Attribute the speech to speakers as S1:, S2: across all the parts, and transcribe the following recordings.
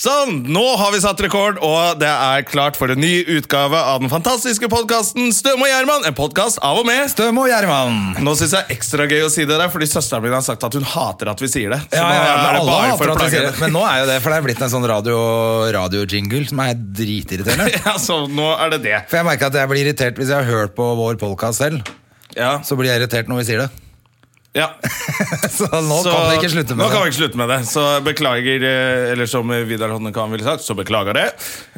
S1: Sånn, nå har vi satt rekord, og det er klart for en ny utgave av den fantastiske podkasten Støme og Gjerman. En podkast av og med.
S2: Støm og Gjerman.
S1: Nå syns jeg er ekstra gøy å si det der, fordi søsteren min har sagt at hun hater at vi sier det. Så
S2: Ja,
S1: nå
S2: ja, ja,
S1: er
S2: men,
S1: det
S2: alle
S1: bare
S2: hater
S1: for å
S2: at vi
S1: plage
S2: sier det.
S1: henne.
S2: men nå er jo det, for det er blitt en sånn radio- radio-jingle som er dritirriterende.
S1: Ja, så nå er det det.
S2: For jeg merker at jeg blir irritert hvis jeg har hørt på vår podcast selv.
S1: Ja.
S2: Så blir jeg irritert når vi sier det.
S1: ja.
S2: Så nå
S1: Så
S2: kan vi ikke slutte
S1: nå
S2: med
S1: kan vi
S2: det.
S1: ikke slutte med det. Så beklager, eh, eller som Vidar Honnekan ville sagt, så beklager det.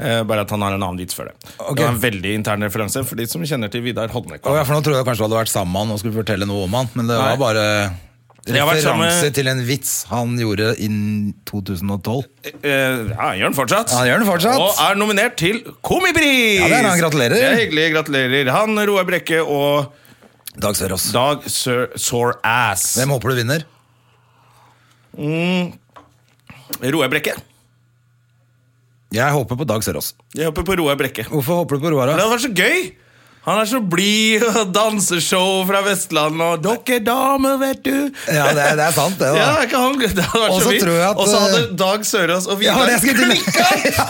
S1: Eh, Bare at han har en annen vits før det.
S2: Ok.
S1: Det var en veldig intern referanse for de som kjenner til Vidar
S2: Å,
S1: Honnekan.
S2: ja, for nå trodde jeg kanskje du hadde vært sammen med han og skulle fortelle noe om han, men det
S1: Nei.
S2: var bare
S1: har vært sammen
S2: referanse
S1: med-
S2: til en vits han gjorde innen 2012.
S1: Eh, Ja, han gjør den fortsatt.
S2: Ja, han gjør den fortsatt.
S1: Og er nominert til Komipris!
S2: Ja, det er han. Gratulerer.
S1: Det er hyggelig. Gratulerer. Han, Roar Brekke og
S2: Dag Sørås.
S1: Dag Sir- Sore Ass.
S2: Hvem håper du vinner?
S1: Roar Brekke.
S2: Jeg håper på Dag Sørås.
S1: Jeg hopper på Roar Brekke.
S2: Hvorfor håper du på Roar?
S1: Det
S2: da?
S1: hadde vært så gøy! Han er så blid og danseshow fra Vestlandet og 'Dere damer, vet du'.
S2: Ja, det er, det er sant, det. da.
S1: Ja, er ikke han, det hadde vært
S2: Og
S1: så
S2: så
S1: vidt.
S2: tror jeg at, eh,
S1: Og så hadde Dag Sørås og
S2: Ja,
S1: Vidar
S2: det skulle jeg til
S1: klikka!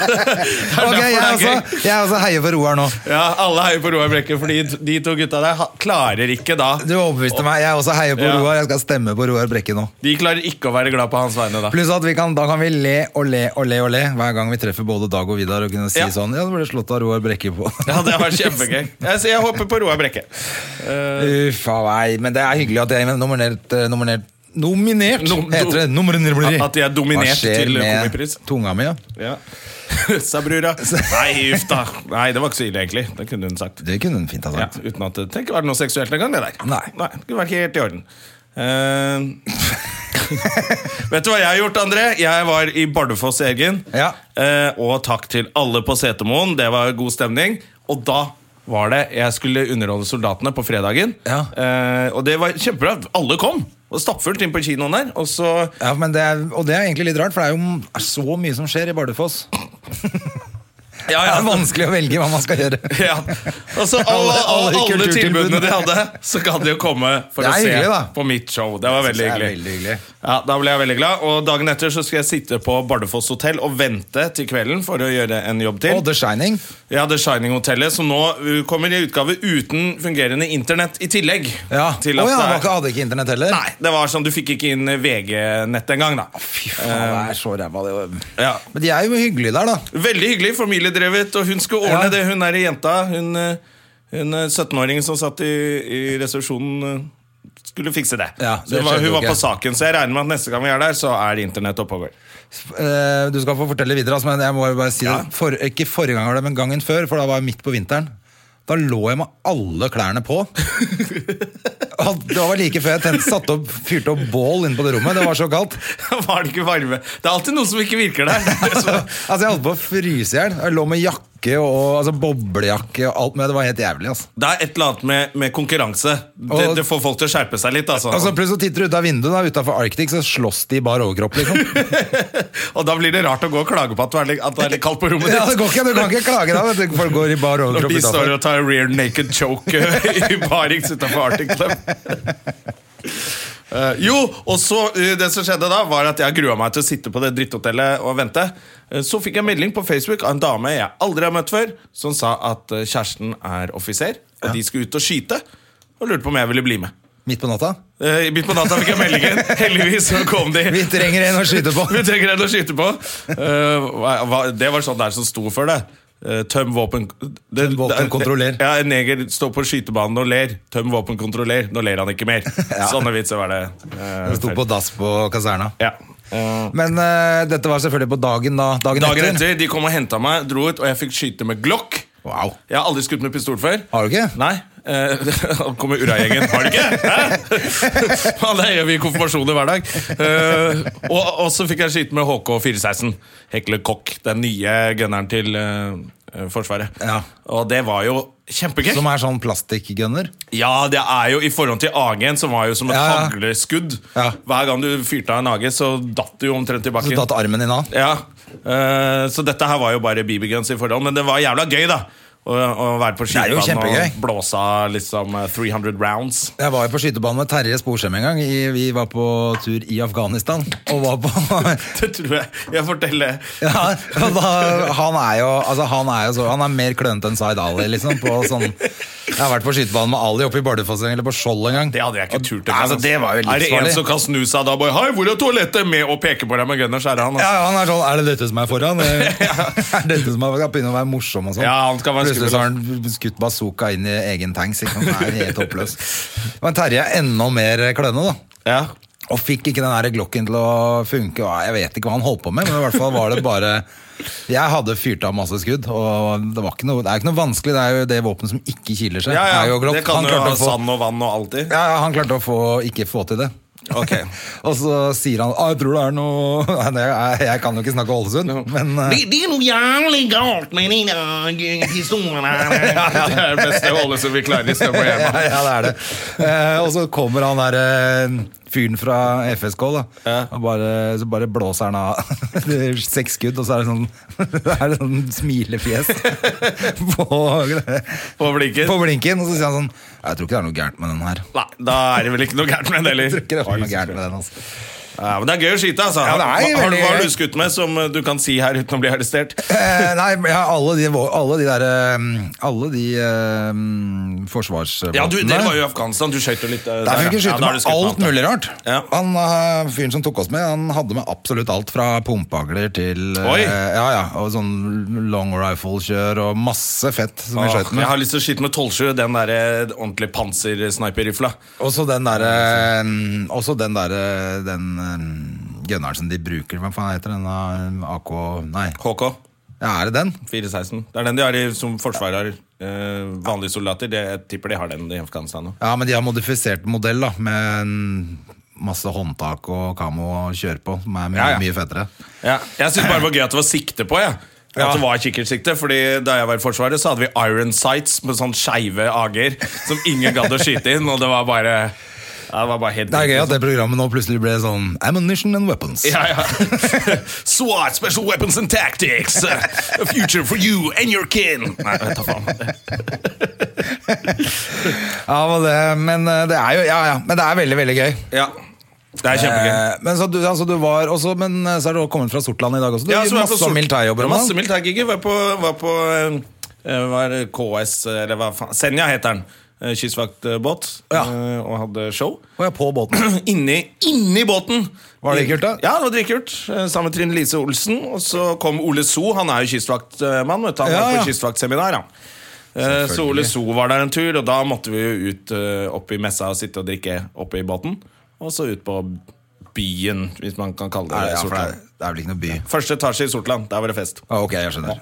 S1: Det er
S2: Ok,
S1: derfor
S2: altså, jeg,
S1: det er
S2: også,
S1: gøy.
S2: jeg også heier for Roar nå.
S1: Ja, alle heier på Roar Brekke, fordi de to gutta der ha- klarer ikke da
S2: Du overbeviste meg. Jeg også heier på
S1: Ja.
S2: Roar. Jeg skal stemme på Roar Brekke nå.
S1: De klarer ikke å være glad på hans vegne da.
S2: Pluss at vi kan, Da kan vi le og le og le og le hver gang vi treffer både Dag og Vidar. Og kunne si
S1: Ja.
S2: sånn Ja, det ble slått av Roar Brekke på.
S1: Ja, det var kjempegøy. Jeg, så jeg håper på Roar Brekke. Eh,
S2: Uffa meg. Men det er hyggelig at jeg er nominert, eh, nominert Nominert,
S1: Nom-
S2: heter det. Nominert.
S1: At- at de er dominert
S2: Hva skjer
S1: til
S2: med
S1: komipris?
S2: Tunga mi, ja.
S1: ja. Sa brura. Nei, uff da. Nei, det var ikke så ille, egentlig. Det kunne hun sagt.
S2: Det kunne hun fint ha
S1: Ja,
S2: sagt.
S1: uten at det trenger ikke være noe seksuelt engang, det der.
S2: Nei.
S1: det kunne vært helt i orden. Eh, vet du hva jeg har gjort, André? Jeg var i Bardufoss, Eggen.
S2: Ja.
S1: Eh, og takk til alle på Setermoen. Det var god stemning. Og da var det Jeg skulle underholde soldatene på fredagen.
S2: Ja.
S1: Eh, og det var kjempebra. Alle kom! Og stappfullt inn på kinoen der. Og så
S2: Ja, men det er, og det er egentlig litt rart, for det er jo er så mye som skjer i Bardufoss.
S1: Ja,
S2: Det er vanskelig å velge hva man skal gjøre.
S1: Ja. Og så alle,
S2: Alle- alle
S1: alle, alle tilbudene
S2: kulturtilbudene.
S1: de hadde, så kan de jo komme for
S2: Det
S1: å
S2: er
S1: se
S2: hyggelig, da.
S1: på mitt show. Det var
S2: Jeg synes
S1: veldig
S2: det er
S1: hyggelig.
S2: veldig hyggelig.
S1: Ja, Da ble jeg veldig glad. Og dagen etter så skal jeg sitte på Bardufoss hotell og vente til kvelden for å gjøre en jobb til.
S2: Og The Shining.
S1: Jeg hadde Shining-hotellet, som nå uh, kommer i utgave uten fungerende internett i tillegg.
S2: Ja.
S1: Til at
S2: Å ja,
S1: det er-
S2: var ikke- hadde ikke internett heller?
S1: Nei, det var sånn, Du fikk ikke inn VG-nett engang, da.
S2: Fy faen, det er så ræva. det.
S1: Ja.
S2: Men de er jo hyggelige der, da.
S1: Veldig hyggelig, familiedrevet, og hun skulle ordne
S2: Ja.
S1: det. Hun er ei jenta. Hun, eh, hun eh, 17-åringen som satt i, i resepsjonen, eh, skulle fikse det.
S2: Ja,
S1: så
S2: det
S1: hun var,
S2: skjedde
S1: hun
S2: jo
S1: var
S2: ikke.
S1: på saken, så jeg regner med at neste gang vi er der, så er det internett oppe og går.
S2: Eh, Du skal få fortelle videre, altså, men jeg må jo bare si
S1: Ja.
S2: det. For, ikke forrige gang, var det, men gangen før, for da var jeg midt på vinteren. Da lå jeg med alle klærne på. Og det var like før jeg tent, satt opp, fyrte opp bål inne på det rommet. Det var så kaldt.
S1: var det ikke varme? Det er alltid noe som ikke virker der. Det er så-
S2: Altså, jeg holdt på å fryse i hjel. Jeg lå med jakke og altså, boblejakke og alt, men det var helt jævlig. altså.
S1: Det er et eller annet med, med konkurranse. Det,
S2: Og-
S1: det får folk til å skjerpe seg litt. Altså.
S2: Altså, Plutselig så titter du ut av vinduet, da, utenfor Arctic, så slåss de i bar overkropp. liksom.
S1: og da blir det rart å gå og klage på at det er litt, at det er litt kaldt på rommet
S2: Ja, det
S1: ditt.
S2: går ikke, Du kan ikke klage da, vet du. Folk går i bar
S1: Når
S2: overkropp
S1: de står
S2: utenfor.
S1: og tar rear naked choke eh, i barings utenfor Arctic Club. Eh, jo, og så eh, det som skjedde da, var at jeg grua meg til å sitte på det dritthotellet og vente. Eh, så fikk jeg melding på Facebook av en dame jeg aldri har møtt før, som sa at eh, kjæresten er offiser, og de skulle ut og skyte. Og lurte på om jeg ville bli med.
S2: Midt på natta.
S1: Eh, I midt på natta fikk jeg meldingen. Heldigvis så kom de.
S2: Vi trenger en å skyte på.
S1: Vi trenger en å skyte på. Eh, hva- hva- det var sånn der som sto for det. Eh, tøm våpen det-
S2: Tøm våpen,
S1: det-
S2: kontroller.
S1: Ja, En neger står på skytebanen og ler. Tøm våpen, kontroller. Nå ler han ikke mer. Sånne vitser var det. eh,
S2: Det sto
S1: før.
S2: på dass på kaserna.
S1: Ja.
S2: Men eh, dette var selvfølgelig på dagen da. Dagen,
S1: Dagen
S2: etter.
S1: etter de kom og henta meg, dro ut, og jeg fikk skyte med Glock.
S2: Wow.
S1: Jeg har aldri skutt med pistol før.
S2: Har du ikke?
S1: Nei. Eh, Han kommer Urra-gjengen. Har du ikke? Hæ? Faen, det gjør vi i konfirmasjoner hver dag. Eh, og, og så fikk jeg skyte med HK416. Hekle Kokk, den nye gunneren til eh, Forsvaret.
S2: Ja.
S1: Og det var jo kjempegøy.
S2: Som er sånn plastikkgunner.
S1: Ja, det er jo i forhold til AG-en, som var jo som et
S2: Ja, ja.
S1: hagleskudd.
S2: Ja.
S1: Hver gang du fyrte av en AG, så datt du jo omtrent i
S2: Så
S1: bakken.
S2: tatt armen din av.
S1: Ja, eh, så dette her var jo bare BB-guns i forhold, men det var jævla gøy, da. Og, og vært på
S2: er
S1: skytebanen
S2: jo
S1: og
S2: kjempegøy.
S1: blåsa liksom eh, 300 rounds.
S2: Jeg var jo på skytebanen med Terje Sporsem en gang. I, vi var på tur i Afghanistan. Og var på
S1: Det tror jeg jeg forteller.
S2: ja, og da, han, er jo, altså, han er jo så Han er mer klønete enn Zaid Ali, liksom. På sånn, jeg har vært på skytebanen med Ali oppe i Bardufoss eller på Skjold en gang.
S1: Det hadde jeg ikke turt.
S2: Nei, altså, det var jo
S1: er det en
S2: livsfarlig.
S1: som kan snu seg da bare, Hei, hvor er toalettet? med å peke på deg med gunners? Er det han?
S2: Ja,
S1: Altså.
S2: ja, han er sånn Er det dette som er foran? er det dette som er foran? Begynner å være morsom og sånn.
S1: Ja, han skal være
S2: Plutselig
S1: skummel.
S2: så har han skutt bazooka inn i egen tanks. Ikke? sant? Han er helt håpløs. Men Terje er enda mer kløne, da.
S1: Ja.
S2: Og fikk ikke den der glokken til å funke. og Jeg vet ikke hva han holdt på med, men i hvert fall var det bare Jeg hadde fyrt av masse skudd, og det, var ikke noe, det er ikke noe vanskelig. Det er jo det våpenet som ikke kiler seg.
S1: Ja,
S2: er
S1: ja,
S2: jo Glock.
S1: Det kan
S2: Han
S1: jo
S2: klarte
S1: ha
S2: å få-
S1: sand og vann og alt i.
S2: ja, ja, han klarte å få, ikke få til det.
S1: Ok.
S2: og så sier han ah, 'Jeg tror det er noe Nei, det er- Jeg kan jo ikke snakke Ålesund, men eh,
S3: Det, det er noe jævlig galt med den der historien her.
S1: Det er det beste Ålesund vi klarer i Støm og
S2: ja,
S1: Hjemme.
S2: ja, det er det. Eh, og så kommer han der eh, fyren fra FSK, da. Og bare, så bare blåser han av Det er seks skudd, og så er det sånn, det er sånn smilefjes på,
S1: På blinken.
S2: på blinken. Og så sier han sånn Jeg tror ikke det er noe gærent med den her.
S1: Nei, da er det vel ikke noe gærent med det
S2: Jeg tror ikke det var noe
S1: heller.
S2: gærent med den, altså.
S1: Ja, men det er gøy å skyte, altså.
S2: Ja, det er
S1: Hva- har du-
S2: veldig
S1: Hva har
S2: gøy.
S1: du skutt med som eh, du kan si her uten å bli arrestert?
S2: Eh, nei, ja, alle de, vå- alle de der eh, Alle de eh, forsvarsvåpnene
S1: Ja, du, Dere var jo i Afghanistan. Du skøyt jo litt eh,
S2: Der fikk vi
S1: ja. Ja,
S2: skyte
S1: da har du
S2: med
S1: skutt med
S2: alt
S1: da.
S2: mulig rart.
S1: Ja.
S2: Han eh, Fyren som tok oss med, han hadde med absolutt alt fra pumpehagler til eh,
S1: Oi.
S2: Ja, ja, og sånn long rifle-kjør og masse fett som vi
S1: Åh,
S2: skjøt
S1: jeg
S2: med.
S1: har lyst til å skyte med 12-7, den der eh, ordentlig pansersniper-rifla.
S2: Og så den derre Også den derre Den eh, gunneren som de bruker, hva faen heter den? da? AK Nei,
S1: HK
S2: ja, er det den?
S1: 416. Det er den de har i, som forsvarer eh, vanlige soldater. Det, jeg tipper de har den i Afghanistan nå.
S2: Ja, men de har modifisert modell, da, med en masse håndtak og kamo å kjøre på, som er mye,
S1: Ja, ja.
S2: mye fettere.
S1: Ja. Jeg syns bare det var gøy at det var sikte på. Jeg.
S2: Ja.
S1: At det var kikkertsikte Fordi Da jeg var i Forsvaret, så hadde vi iron sights med sånn skeive ager som ingen gadd å skyte inn. Og det var bare ja, Det var bare helt
S2: Det er gøy at det programmet nå plutselig ble sånn Ammunition and weapons.
S1: ja, ja. SWAT, Special Weapons and Tactics. Uh, A future for you and your kin. Nei, jeg tar faen.
S2: Ja, men det, men eh, det er jo ja, ja, men det er veldig, veldig gøy.
S1: Ja. Det er kjempegøy.
S2: Eh, Men så, du, altså, du var også, men eh, så er du også kommet fra Sortland i dag også. Du
S1: Ja,
S2: har
S1: så var jeg på
S2: masse
S1: Sort-
S2: militærjobber.
S1: Ja,
S2: om
S1: Masse
S2: dagen.
S1: militærgigger. Var på, var på eh, var KS, eh, eller hva faen Senja heter den. Eh, Kystvaktbåt.
S2: Ja.
S1: eh, Og hadde show.
S2: Og jeg er på båten.
S1: Inni, inni båten!
S2: Var det kult, da?
S1: Ja, det var dritkult. Eh, Sammen med Trine Lise Olsen. Og så kom Ole So. Han er jo kystvaktmann. vet du. Han
S2: Ja,
S1: var
S2: ja.
S1: på kystvaktseminar. han. Eh, Så Ole So var der en tur, og da måtte vi jo ut eh, opp i messa og sitte og drikke oppe i båten. Og så ut på byen, hvis man kan kalle det
S2: Er
S1: det.
S2: det, ja, for det,
S1: Sortland.
S2: er, det er vel ikke noe by.
S1: Første etasje i Sortland. Der var det fest.
S2: Ah, ok, jeg skjønner.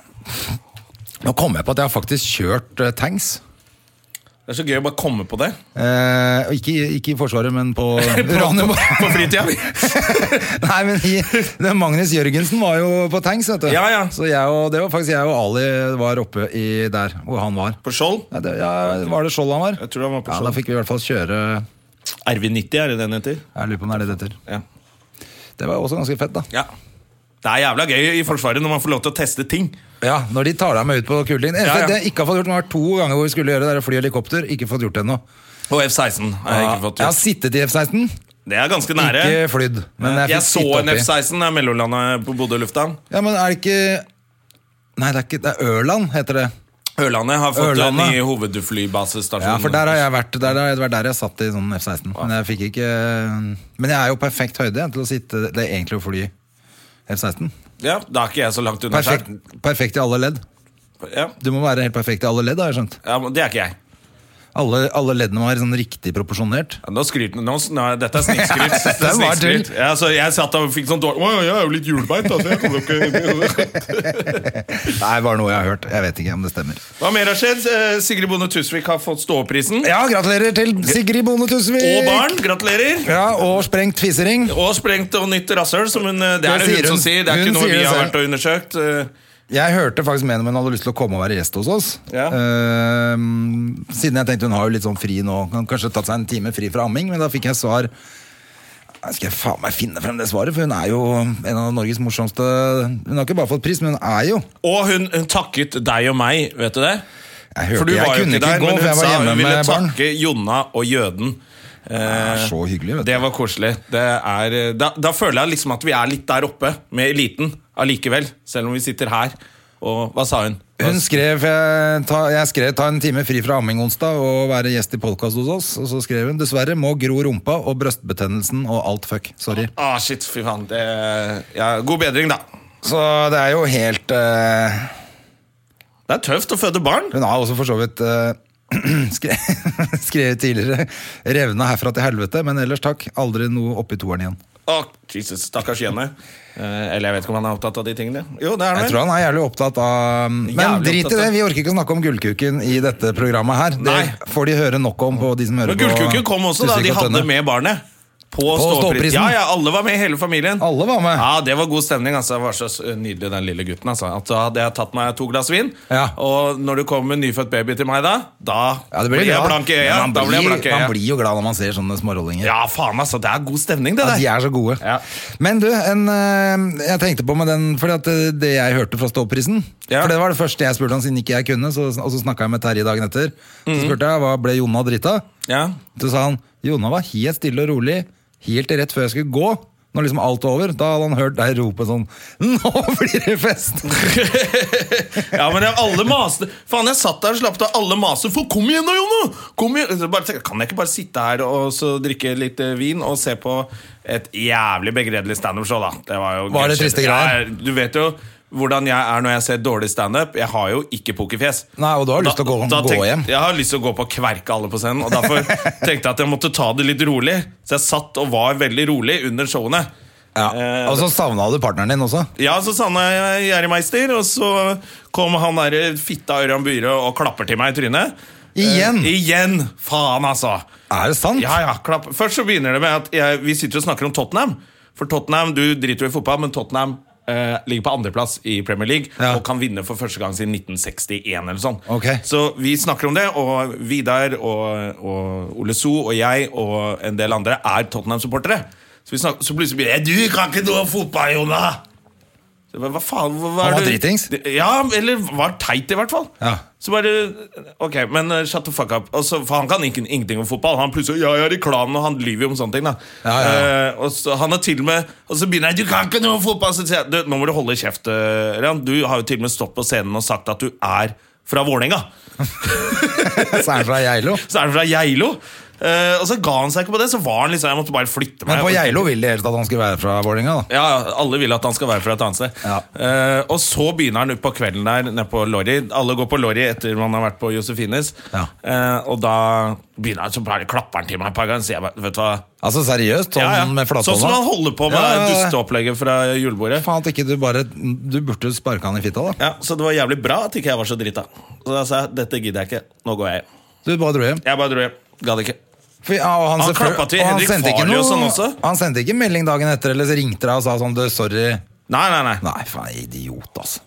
S2: Nå kom jeg på at jeg har faktisk kjørt eh, tanks.
S1: Det er så gøy å bare komme på det.
S2: Eh, og ikke, ikke i Forsvaret, men på Ranum.
S1: På fritida.
S2: Nei, men i, det, Magnus Jørgensen var jo på tanks, vet du.
S1: Ja, ja.
S2: Så jeg og, det var faktisk jeg og Ali var oppe i, der hvor han var.
S1: På Skjold.
S2: Ja, det, ja, var det Skjold han var?
S1: Jeg tror han var på
S2: Ja, da
S1: Skjold.
S2: fikk vi i hvert fall kjøre
S1: RV90 er det den heter.
S2: Jeg lurer på om det er det det heter.
S1: Ja.
S2: Det var jo også ganske fett, da.
S1: ja. Det er jævla gøy i Forsvaret når man får lov til å teste ting.
S2: Ja, Når de tar deg med ut på kulingen. Eneste
S1: Ja, ja.
S2: det jeg ikke har fått gjort, det har vært to ganger hvor vi skulle gjøre det, det er å fly helikopter. Ikke fått gjort det ennå.
S1: Og F-16 har jeg ikke fått
S2: Jeg har
S1: gjort.
S2: sittet i F-16,
S1: Det er ganske nære.
S2: ikke flydd. Men jeg,
S1: Jeg,
S2: fikk
S1: så
S2: sitte
S1: en
S2: oppi.
S1: F-16 da jeg mellomlandet på Bodø lufthavn.
S2: Ja, men er det ikke Nei, det er ikke Det er Ørland, heter det.
S1: Ørlandet har fått
S2: Ørlandet.
S1: nye hovedflybasestasjon.
S2: Ja, for der har jeg vært. Der, der, det var der jeg satt i sånn F-16. Men jeg fikk ikke Men jeg er jo perfekt høyde jeg, til å sitte Det er egentlig å fly F-16.
S1: Ja, Da er ikke jeg så langt unna.
S2: Perfekt,
S1: skjær.
S2: perfekt i alle ledd.
S1: Ja.
S2: Du må være helt perfekt i alle ledd, har jeg skjønt.
S1: ja, men Det er ikke jeg.
S2: Alle, alle leddene må være sånn riktig proporsjonert.
S1: Ja, nå skryter nå, nå, Dette er snikskryt.
S2: Dette
S1: Dette er
S2: var
S1: snikskryt. Ja, så jeg satt og fikk sånn dårlig Å, jeg er jo litt hjulbeint, altså. Jeg kommer jo ikke
S2: Det er bare noe jeg har hørt. Jeg vet ikke om det stemmer.
S1: Hva mer har skjedd? Eh, Sigrid Bonde Tusvik har fått ståprisen.
S2: Ja, gratulerer til Sigrid Bonde Tusvik!
S1: Og barn. Gratulerer.
S2: Ja, og sprengt fisering.
S1: Og sprengt og nytt rasshøl, som hun eh, Det er det hun,
S2: Det sier
S1: som
S2: hun.
S1: sier. Det er
S2: Hun
S1: ikke noe
S2: sier
S1: vi
S2: det
S1: har
S2: selv.
S1: vært og undersøkt. eh.
S2: Jeg hørte faktisk med henne, men hadde lyst til å komme og være gjest hos oss.
S1: Ja.
S2: Ehm, siden jeg tenkte hun har jo litt sånn fri nå, kan kanskje tatt seg en time fri fra amming, men da fikk jeg svar Nei, Skal jeg faen meg finne frem det svaret, for hun er jo en av Norges morsomste Hun har ikke bare fått pris, men hun er jo
S1: Og hun, hun takket deg og meg, vet du det?
S2: Jeg hørte-
S1: For du
S2: jeg
S1: var jo
S2: kunne
S1: ikke
S2: ikke
S1: der,
S2: gå,
S1: men
S2: for jeg
S1: hun
S2: var
S1: sa
S2: hjemme
S1: hun ville
S2: med barn.
S1: takke Jonna og jøden. Eh,
S2: Det er så hyggelig, vet du.
S1: det var koselig. Det er, eh, da, da føler jeg liksom at vi er litt der oppe med eliten allikevel, selv om vi sitter her. Og hva sa hun?
S2: Hun skrev jeg, ta, jeg skrev 'ta en time fri fra amming onsdag og være gjest i podkast hos oss'. Og så skrev hun 'dessverre må gro rumpa og brøstbetennelsen og alt fuck'. Sorry.
S1: Ah, shit, fy faen. Det, ja, god bedring, da.
S2: Så det er jo helt eh,
S1: Det er tøft å føde barn.
S2: Hun har også for så vidt eh, skre, skrevet tidligere 'revna herfra til helvete', men ellers takk. Aldri noe oppi toeren igjen.
S1: Å, Jesus, stakkars Jenny. Eh, eller jeg vet ikke om han er opptatt av de tingene. Jo, det er
S2: Jeg
S1: han
S2: tror
S1: vel.
S2: han er jævlig opptatt av Men
S1: Jævlig
S2: drit i
S1: opptatt av-
S2: det, vi orker ikke å snakke om gullkuken i dette programmet her. Det
S1: Nei.
S2: får de høre nok om på de som hører
S1: Men Gullkuken
S2: på
S1: kom også, da.
S2: Tusvik
S1: De
S2: og
S1: hadde
S2: Tønne.
S1: med barnet. På,
S2: ståprisen.
S1: ståprisen. Ja, ja, alle var med, hele familien.
S2: Alle var med.
S1: Ja, Det var god stemning. altså Det var så s- nydelig, den lille gutten. altså At Da hadde jeg tatt meg to glass vin,
S2: Ja.
S1: og når du kommer med en nyfødt baby til meg da, da
S2: Ja, det
S1: blir
S2: blir
S1: jeg
S2: glad.
S1: blank i
S2: Men
S1: øya.
S2: Man
S1: Da blir jeg
S2: blir,
S1: blank i
S2: man
S1: øya.
S2: blir jo glad når man ser sånne smårollinger.
S1: Ja, faen, altså. Det er god stemning, det
S2: Ja,
S1: der.
S2: de er så gode.
S1: Ja.
S2: Men du, en, eh, jeg tenkte på med den Fordi at eh, det jeg hørte fra Ståprisen
S1: Ja.
S2: For det var det første jeg spurte han siden ikke jeg kunne, så, og så snakka jeg med Terje dagen etter. Så
S1: Mhm.
S2: spurte jeg hva ble Jonna drita
S1: Ja.
S2: Så sa han Jonna var helt stille og rolig helt til rett før jeg skulle gå. Når liksom alt var over, da hadde han hørt deg rope sånn Nå blir det fest!
S1: Ja, men jeg, alle maste Faen, jeg satt der og slapp av. Alle maste. For kom igjen da, Jonno! Kom igjen! Så Bare, tenkte, kan jeg ikke bare sitte her og så drikke litt eh, vin og se på et jævlig begredelig standup-show, da? Det var jo
S2: Var det
S1: gøy shit.
S2: triste
S1: Jeg
S2: greier?
S1: er- Du vet jo hvordan jeg er når jeg ser dårlig standup. Jeg har jo ikke pokerfjes.
S2: Nei, og du har lyst til å gå- gå hjem.
S1: Jeg har lyst til å gå på og kverke alle på scenen, og derfor tenkte jeg at jeg måtte ta det litt rolig. Så jeg satt og var veldig rolig under showene.
S2: Ja.
S1: Eh,
S2: Og så savna du partneren din også.
S1: ja, så savna jeg Gjerrimeister, og så kom han der eh, fitta Ørjan Byhre og klapper til meg i trynet.
S2: Igjen?
S1: Eh, igjen! Faen, altså.
S2: Er det sant?
S1: Ja, ja, klapp. Først så begynner det med at jeg, vi sitter og snakker om Tottenham. For Tottenham, Du driter jo i fotball, men Tottenham eh, ligger på andreplass i Premier League
S2: Ja.
S1: og kan vinne for første gang siden 1961. eller sånn.
S2: Ok.
S1: Så vi snakker om det, og Vidar og, og Ole So og jeg og en del andre er Tottenham-supportere. Så, vi snakker, så plutselig blir det «Eh, Du kan ikke noe om fotball, Jonah! Så jeg bare, Hva faen, hva, hva
S2: Han
S1: er
S2: var
S1: det-
S2: dritings.
S1: Det- Ja, eller var teit i hvert fall.
S2: Ja.
S1: Så bare Ok, men eh, shut the fuck up. Og så- for han kan ikke, ingenting om fotball. Han plutselig Ja, jeg er i klanen, og han lyver jo om sånne ting, da.
S2: Ja, ja, ja.
S1: Eh, og så han er til og med Og så begynner jeg Du kan ikke noe om fotball! Så sier jeg du, Nå må du holde kjeft, eh, Ørjan. Du har jo til og med stått på scenen og sagt at du er fra Vålerenga.
S2: Så er han fra Geilo.
S1: Så er du fra Geilo. Eh, og så ga han seg ikke på det, så var han liksom Jeg måtte bare flytte meg.
S2: Men på Geilo ville de helst at han skulle være fra Vålerenga, da.
S1: Ja, ja, alle vil at han skal være fra et annet sted.
S2: Ja.
S1: Eh, og så begynner han utpå kvelden der nede på Lorry. Alle går på Lorry etter man har vært på Josefines.
S2: Ja.
S1: Eh, og da begynner han, så bare klapper han til meg et par ganger. Så jeg bare, vet du hva
S2: Altså seriøst, sånn
S1: Ja, ja.
S2: med flathånda.
S1: Sånn som han holder på med
S2: Ja, ja, ja.
S1: dusteopplegget fra julebordet.
S2: Faen at ikke du bare Du burde jo sparka han i fitta, da.
S1: Ja, Så det var jævlig bra at ikke jeg var så drita. Så da sa jeg dette gidder jeg ikke. Nå går jeg hjem.
S2: Du bare dro hjem.
S1: Jeg bare dro hjem. Gadd ikke.
S2: For, ja, og
S1: Han
S2: selvfølgelig-
S1: klappa til
S2: og han
S1: Henrik
S2: sendte ikke
S1: Farley og
S2: noe-
S1: sånn også.
S2: Han sendte ikke melding dagen etter eller så ringte deg og sa sånn du, sorry.
S1: Nei, nei, nei.
S2: Nei, faen, idiot, altså.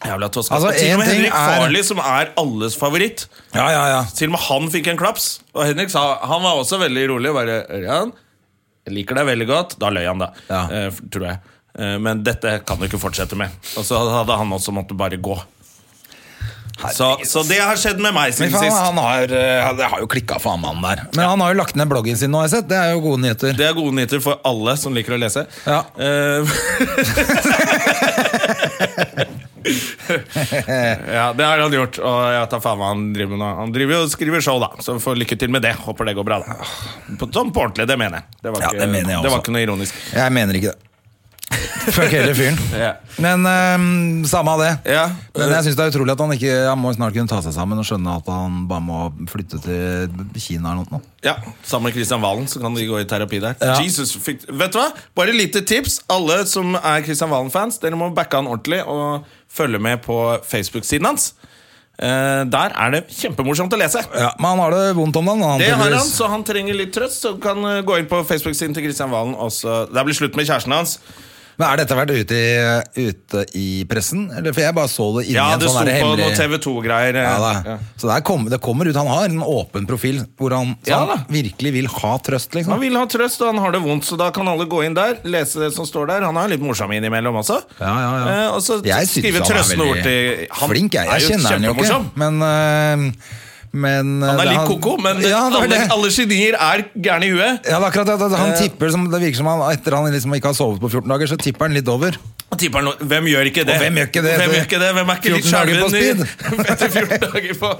S1: Jævla tosk.
S2: Altså,
S1: og til
S2: en
S1: og med
S2: ting
S1: Henrik
S2: er-
S1: Farley, som er alles favoritt.
S2: Ja, ja, ja.
S1: Til og med han fikk en klaps. Og Henrik sa, han var også veldig rolig. og Bare, Ørjan, jeg liker deg veldig godt. Da løy han, da.
S2: Ja.
S1: eh, f- tror jeg. Eh, men dette kan du ikke fortsette med. Og så hadde han også måttet bare gå. Så, så det har skjedd med meg siden
S2: Men faen,
S1: sist.
S2: han har, eh, det har jo klikka for han mannen der. Men han har jo lagt ned bloggen sin nå, har jeg sett. Det er jo gode nyheter.
S1: Det er gode nyheter for alle som liker å lese.
S2: Ja.
S1: Eh, ja, det har han gjort, og jeg tar faen hva han driver med nå. Han driver jo og skriver show, da, så får lykke til med det. Håper det går bra, da. På, sånn på ordentlig, det mener jeg. Det var
S2: Ah. Ja,
S1: ikke,
S2: det mener jeg
S1: det
S2: også.
S1: var ikke noe ironisk.
S2: Jeg mener ikke det. Fuck hele fyren.
S1: Ja.
S2: Men ehm, samme av det.
S1: Ja.
S2: Men jeg synes det er utrolig at han ikke Han må snart kunne ta seg sammen og skjønne at han bare må flytte til Kina eller noe.
S1: Ja, Sammen med Kristian Valen, så kan de gå i terapi der.
S2: Ja.
S1: Jesus, fikk, vet du hva? Bare lite tips. Alle som er Kristian Valen-fans, dere må backe han ordentlig og følge med på Facebook-siden hans. Eh, der er det kjempemorsomt å lese.
S2: Ja, men han har det vondt om dagen. Han,
S1: Det har han,
S2: tydeligvis.
S1: så han trenger litt trøst. Så kan eh, gå inn på Facebook-siden til Kristian Valen. Også. Det blir slutt med kjæresten hans.
S2: Men har dette vært ute i, ute i pressen? Eller, for jeg bare så det inni
S1: Ja,
S2: en
S1: det sto
S2: sånn der
S1: på
S2: hemmelig
S1: noe TV 2-greier.
S2: ja, da. Så der kom, det kommer ut. Han har en åpen profil hvor han, så
S1: Ja,
S2: han
S1: da.
S2: virkelig vil ha trøst,
S1: Han
S2: liksom.
S1: vil ha trøst, og han har det vondt, så da kan alle gå inn der, lese det som står der. Han er litt morsom innimellom også.
S2: Ja, ja, ja.
S1: Eh, og så
S2: Jeg synes
S1: skrive
S2: han er
S1: trøstende
S2: veldig
S1: ord til Han
S2: Flink, jeg. Jeg
S1: er jo
S2: kjenner han jo ikke.
S1: kjempemorsom.
S2: Men, øh, men øh,
S1: Han er
S2: det-
S1: litt koko, men
S2: ja, det var
S1: alle,
S2: det.
S1: alle genier er gærne i huet.
S2: Ja, det er akkurat det. at Han
S1: Eh.
S2: tipper som, Det virker som han etter han liksom ikke har sovet på 14 dager, så tipper han litt over.
S1: Og tipper han, Hvem gjør ikke det?
S2: Og hvem gjør ikke det?
S1: Hvem, gjør ikke det? hvem er ikke litt
S2: 14 dager på
S1: skjelven i- etter 14 dager på,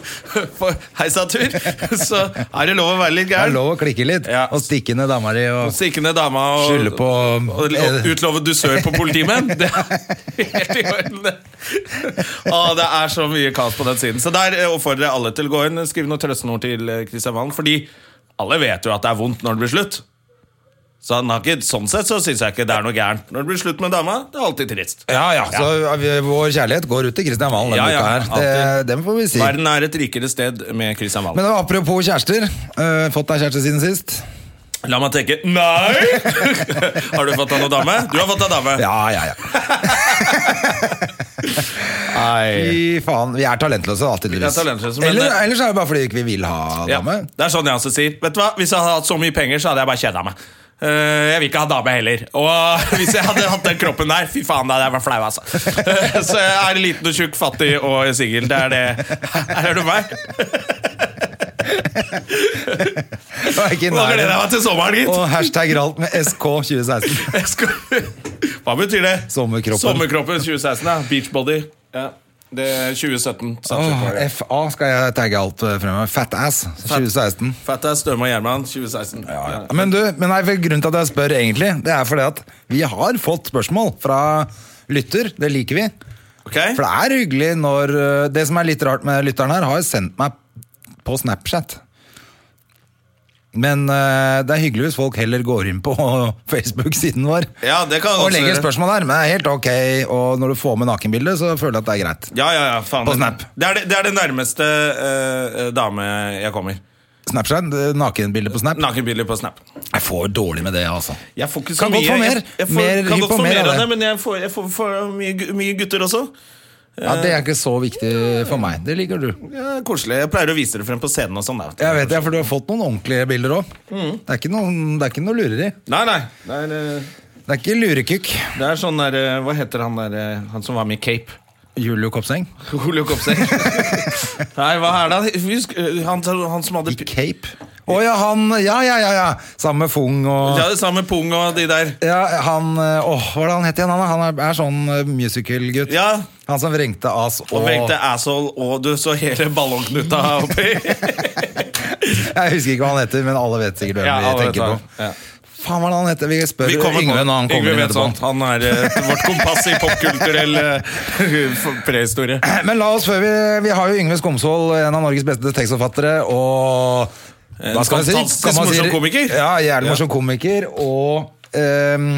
S1: på heisatur? Så er det lov å være litt
S2: Det er
S1: gæren.
S2: lov å klikke litt
S1: Ja.
S2: og stikke ned dama di og
S1: Stikkende dama og
S2: skylde på Eh,
S1: Og lo- utlove dusør på politimenn. Det er helt i orden, det. Å, det er så mye kaos på den siden. Så der eh, oppfordrer jeg alle til å gå inn og skrive noen trøstenord til eh, Kristian Valen. Fordi alle vet jo at det er vondt når det blir slutt. Så han har ikke, sånn sett så syns jeg ikke det er noe gærent. Når det blir slutt med dama, det er alltid trist.
S2: Ja, ja, så vi- vår kjærlighet går ut til Kristian Valen denne
S1: Ja, ja,
S2: uka her. Det, det får vi si.
S1: Verden er et rikere sted med Kristian Valen.
S2: Men apropos kjærester. øh, fått deg kjæreste siden sist?
S1: La meg tenke Nei! har du fått deg noe dame? Du har fått deg dame.
S2: Ja, ja, ja.
S1: Nei.
S2: Fy faen, vi er talentløse, da, tydeligvis.
S1: Vi er talentløse, men-
S2: Eller, ellers er det bare fordi vi ikke vil ha
S1: Ja,
S2: dame.
S1: det er sånn jeg også sier. Vet du hva? Hvis jeg hadde hatt så mye penger, så hadde jeg bare kjeda meg. Eh, jeg vil ikke ha dame heller. Og hvis jeg hadde hatt den kroppen der, fy faen, da hadde jeg vært flau, altså. Eh, så jeg er liten og tjukk, fattig og singel. Det er det. Her er du meg.
S2: Jeg er ikke i
S1: Nå gleder jeg
S2: nærheten.
S1: meg til sommeren, gitt.
S2: Og hashtag ralt med SK 2016.
S1: Jeg skal... Hva betyr det?
S2: Sommerkroppen.
S1: Sommerkroppen 2016, ja. Beachbody. Ja. Det er 2017.
S2: Åh,
S1: Snapchat-året.
S2: FA skal jeg tagge alt øh, fremover. Fat ass 2016.
S1: Fattass, Støme og Gjerman 2016.
S2: Ja. Men du, men nei, vel, grunnen til at jeg spør egentlig, det er fordi at vi har fått spørsmål fra lytter. Det liker vi.
S1: Ok?
S2: For det er hyggelig når øh, Det som er litt rart med lytteren her, har sendt meg på Snapchat. Men øh, det er hyggelig hvis folk heller går inn på Facebook-siden vår
S1: Ja, det kan jeg
S2: og
S1: også
S2: legger
S1: gjøre.
S2: spørsmål der. Men det er helt ok, og når du får med nakenbildet, så føler jeg at det er greit.
S1: Ja, ja, ja, faen.
S2: På Snap.
S1: Det er det, det, er det nærmeste eh, eh, dame jeg kommer.
S2: Snapchat, øh, nakenbilde på Snap.
S1: Nakenbilder på Snap.
S2: Jeg får dårlig med det, altså.
S1: Jeg får ikke så
S2: Kan
S1: mye.
S2: godt få mer.
S1: Jeg, jeg får,
S2: Mer-
S1: kan
S2: hiv
S1: godt
S2: på
S1: få
S2: mer
S1: mer
S2: av
S1: av det,
S2: det.
S1: men jeg får, jeg får, får mye, gu- mye gutter også.
S2: Ja, Det er ikke så viktig for meg. Det liker du.
S1: Ja, koselig. Jeg pleier å vise det frem på scenen og sånn. da, vet du.
S2: Jeg vet det, for du har fått noen ordentlige bilder òg. Det, er ikke noen- det er ikke noe lureri.
S1: Nei, nei. Det er, eh,
S2: Det er ikke lurekukk.
S1: det er sånn der eh, Hva heter han der eh, Han som var med i Cape?
S2: Julio Kopseng.
S1: Ole Kopseng. nei, hva er det han- Husk, eh, han, han som hadde
S2: I cape. Å ja, han Ja, ja, ja! ja. Sammen med Fung og
S1: Ja, det samme pung og de der.
S2: ja, han, eh, Åh, hva er det han het igjen? Han, er- han er, er sånn eh, musical-gutt.
S1: Ja.
S2: Han som vrengte ass og,
S1: Og vengte asshole, og du så hele ballongknuta oppi.
S2: Jeg husker ikke hva han heter, men alle vet sikkert hvem
S1: Ja, alle
S2: vi
S1: vet
S2: tenker
S1: hva.
S2: på.
S1: Ja.
S2: Faen, hva er det han heter? Vi spør
S1: Vi kommer på
S2: Yngve når han
S1: Yngve
S2: kommer inn
S1: vet
S2: etterpå.
S1: sånt. Han er eh, vårt kompass i popkulturell eh, prehistorie.
S2: Men la oss før vi Vi har jo Yngve Skomsvold, en av Norges beste tekstforfattere, og
S1: En
S2: Hva skal man si?
S1: fantastisk
S2: Kan man si-
S1: morsom komiker.
S2: Ja, jævlig morsom komiker, og ehm,